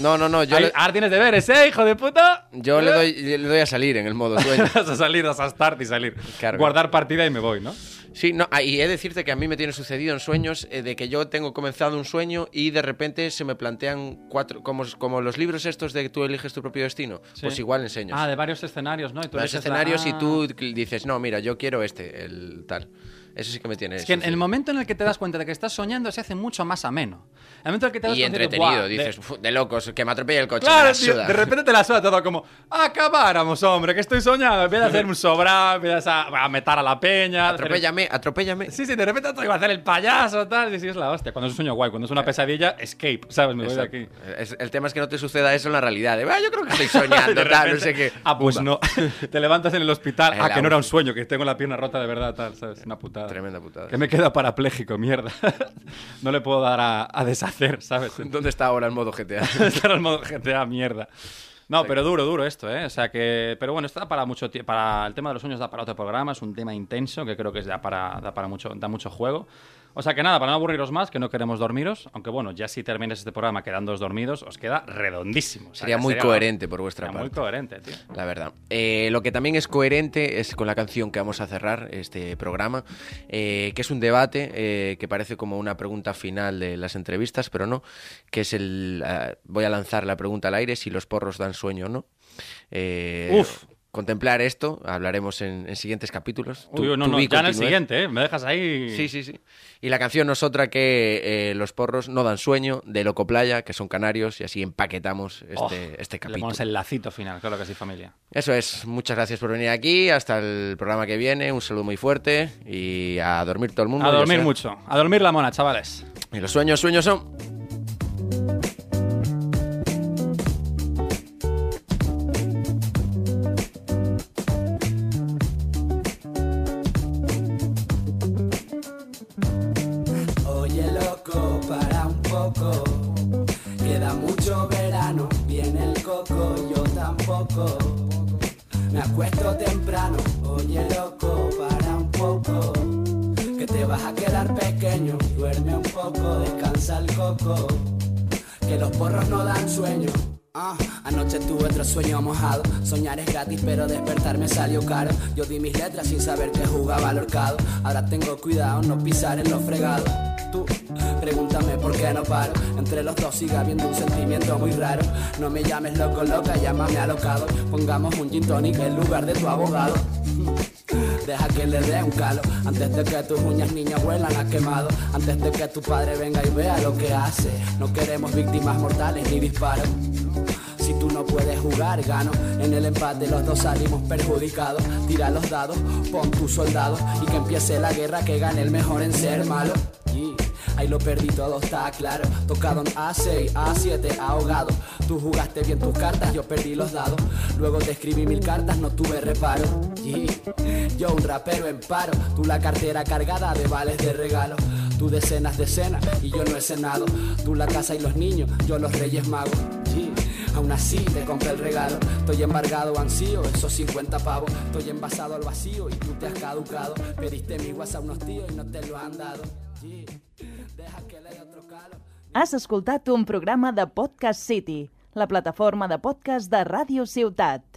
Speaker 2: No, no, no, yo,
Speaker 1: Ahí-
Speaker 2: le,
Speaker 1: Ahora tienes deberes, ¿eh, hijo de puta?
Speaker 2: yo le doy, le doy a salir en el modo sueño.
Speaker 1: *laughs* Vas a salir, vas a estar y salir.
Speaker 2: Claro.
Speaker 1: Guardar partida y me voy, ¿no?
Speaker 2: Sí, no, ah, y he de decirte que a mí me tiene sucedido en sueños eh, de que yo tengo comenzado un sueño y de repente se me plantean cuatro, como, como los libros estos de que tú eliges tu propio destino,
Speaker 1: Sí.
Speaker 2: pues igual enseños.
Speaker 1: Ah, de varios escenarios, ¿no? Y tú
Speaker 2: los
Speaker 1: eliges la-
Speaker 2: escenarios
Speaker 1: Ah.
Speaker 2: y tú cl- dices, no, mira, yo quiero este, el tal. Eso sí que me tiene.
Speaker 1: Es que en el
Speaker 2: sucedido.
Speaker 1: momento en el que te das cuenta de que estás soñando se hace mucho más ameno. En el momento en el que te das
Speaker 2: Y
Speaker 1: cuenta de,
Speaker 2: entretenido,
Speaker 1: "Buah, de-
Speaker 2: dices, "Fu, de... locos, que me atropella el coche. me
Speaker 1: Claro,
Speaker 2: la
Speaker 1: tío,
Speaker 2: suda".
Speaker 1: de repente te la suda todo como, acabáramos, hombre, que estoy soñando. Empiezas a hacer un sobrado, empiezas a, a meter a la peña.
Speaker 2: Atropéllame, atropéllame.
Speaker 1: Sí, sí, de repente te iba a hacer el payaso, tal. Y sí, es la hostia. Cuando es un sueño guay, cuando es una pesadilla, escape, ¿sabes? Me voy de
Speaker 2: Exacto.
Speaker 1: aquí.
Speaker 2: Es- el tema es que no te suceda eso en la realidad. de, "Ah, yo creo que
Speaker 1: *laughs*
Speaker 2: estoy soñando, tal, no sé qué.
Speaker 1: Ah, pues no. *laughs* te levantas en el hospital.
Speaker 2: En
Speaker 1: Ah,
Speaker 2: la
Speaker 1: que no era un
Speaker 2: UCI.
Speaker 1: sueño, que tengo la pierna rota de verdad, tal, ¿sabes? Una putada.
Speaker 2: Tremenda putada.
Speaker 1: Que me queda parapléjico, mierda. *laughs* no le puedo dar a, a deshacer, ¿sabes?
Speaker 2: *laughs* *laughs* ¿Dónde está ahora el modo
Speaker 1: *laughs*
Speaker 2: GTA?
Speaker 1: Estar al modo GTA, mierda. No, pero duro, duro esto, ¿eh? O sea que. Pero bueno, está para mucho tiempo. Para el tema de los sueños da para otro programa, es un tema intenso que creo que da para, da para mucho, da mucho juego. O sea que nada, para no aburriros más, que no queremos dormiros, aunque bueno, ya si termináis este programa quedándoos dormidos, os queda redondísimo. O sea,
Speaker 2: Sería
Speaker 1: que
Speaker 2: muy coherente por vuestra
Speaker 1: sería muy
Speaker 2: parte.
Speaker 1: coherente, tío.
Speaker 2: La verdad. Eh, lo que también es coherente es con la canción que vamos a cerrar este programa, eh, que es un debate eh, que parece como una pregunta final de las entrevistas, pero no, que es el... ah, voy a lanzar la pregunta al aire, si los porros dan sueño o no. Eh,
Speaker 1: Uf.
Speaker 2: Contemplar esto, hablaremos en, en siguientes capítulos. Tú-
Speaker 1: Uy, no,
Speaker 2: tú
Speaker 1: no,
Speaker 2: vi
Speaker 1: ya en el
Speaker 2: continúe.
Speaker 1: siguiente, ¿eh? Me dejas ahí.
Speaker 2: Sí, sí, sí. Y la canción no es otra que eh, Los porros no dan sueño, de Loco Playa, que son canarios, y así empaquetamos este,
Speaker 1: Oh,
Speaker 2: este
Speaker 1: Le
Speaker 2: capítulo.
Speaker 1: ponemos el lacito final, claro que sí, familia.
Speaker 2: Eso es, muchas gracias por venir aquí, hasta el programa que viene, un saludo muy fuerte y a dormir todo el mundo.
Speaker 1: A
Speaker 2: yo
Speaker 1: dormir
Speaker 2: sé.
Speaker 1: mucho, a dormir la mona, chavales.
Speaker 2: Y los sueños, sueños son...
Speaker 6: Oye loco, para un poco. Queda mucho verano, viene el coco, yo tampoco. Me acuesto temprano, oye loco, para un poco. Que te vas a quedar pequeño, duerme un poco, descansa el coco. Que los porros no dan sueño. Ah, anoche tuve otro sueño mojado. Soñar es gratis, pero despertarme salió caro. Yo di mis letras sin saber que jugaba al horcado. Ahora tengo cuidado no pisar en los fregados. Tú, pregúntame por qué no paro. Entre los dos sigue habiendo un sentimiento muy raro. No me llames loco, loca, llámame alocado. Pongamos un gin tonic en lugar de tu abogado. Deja que le dé un calo Antes de que tus uñas niñas vuelan a quemado Antes de que tu padre venga y vea lo que hace No queremos víctimas mortales ni disparos si Si tú no puedes jugar, gano. En el empate los dos salimos perjudicados. Tira los dados, pon tu soldado y que empiece la guerra, que gane el mejor en ser malo. Y Ahí lo perdí todo, está claro. Tocado en A6, A7, ahogado. Tú jugaste bien tus cartas, yo perdí los dados. Luego te escribí mil cartas, no tuve reparo. Y yo un rapero en paro, tú la cartera cargada de vales de regalo. Tú decenas de cenas y yo no he cenado. Tú la casa y los niños, yo los reyes magos. Y Aún así te compré el regalo. Estoy embargado, ansío, esos 50 pavos. Estoy envasado al vacío y tú te has caducado. Pediste mi WhatsApp a unos tíos y no te lo han dado. Y Deja que le dé otro calo.
Speaker 7: Has escoltat un programa de Podcast City, la plataforma de podcast de Ràdio Ciutat.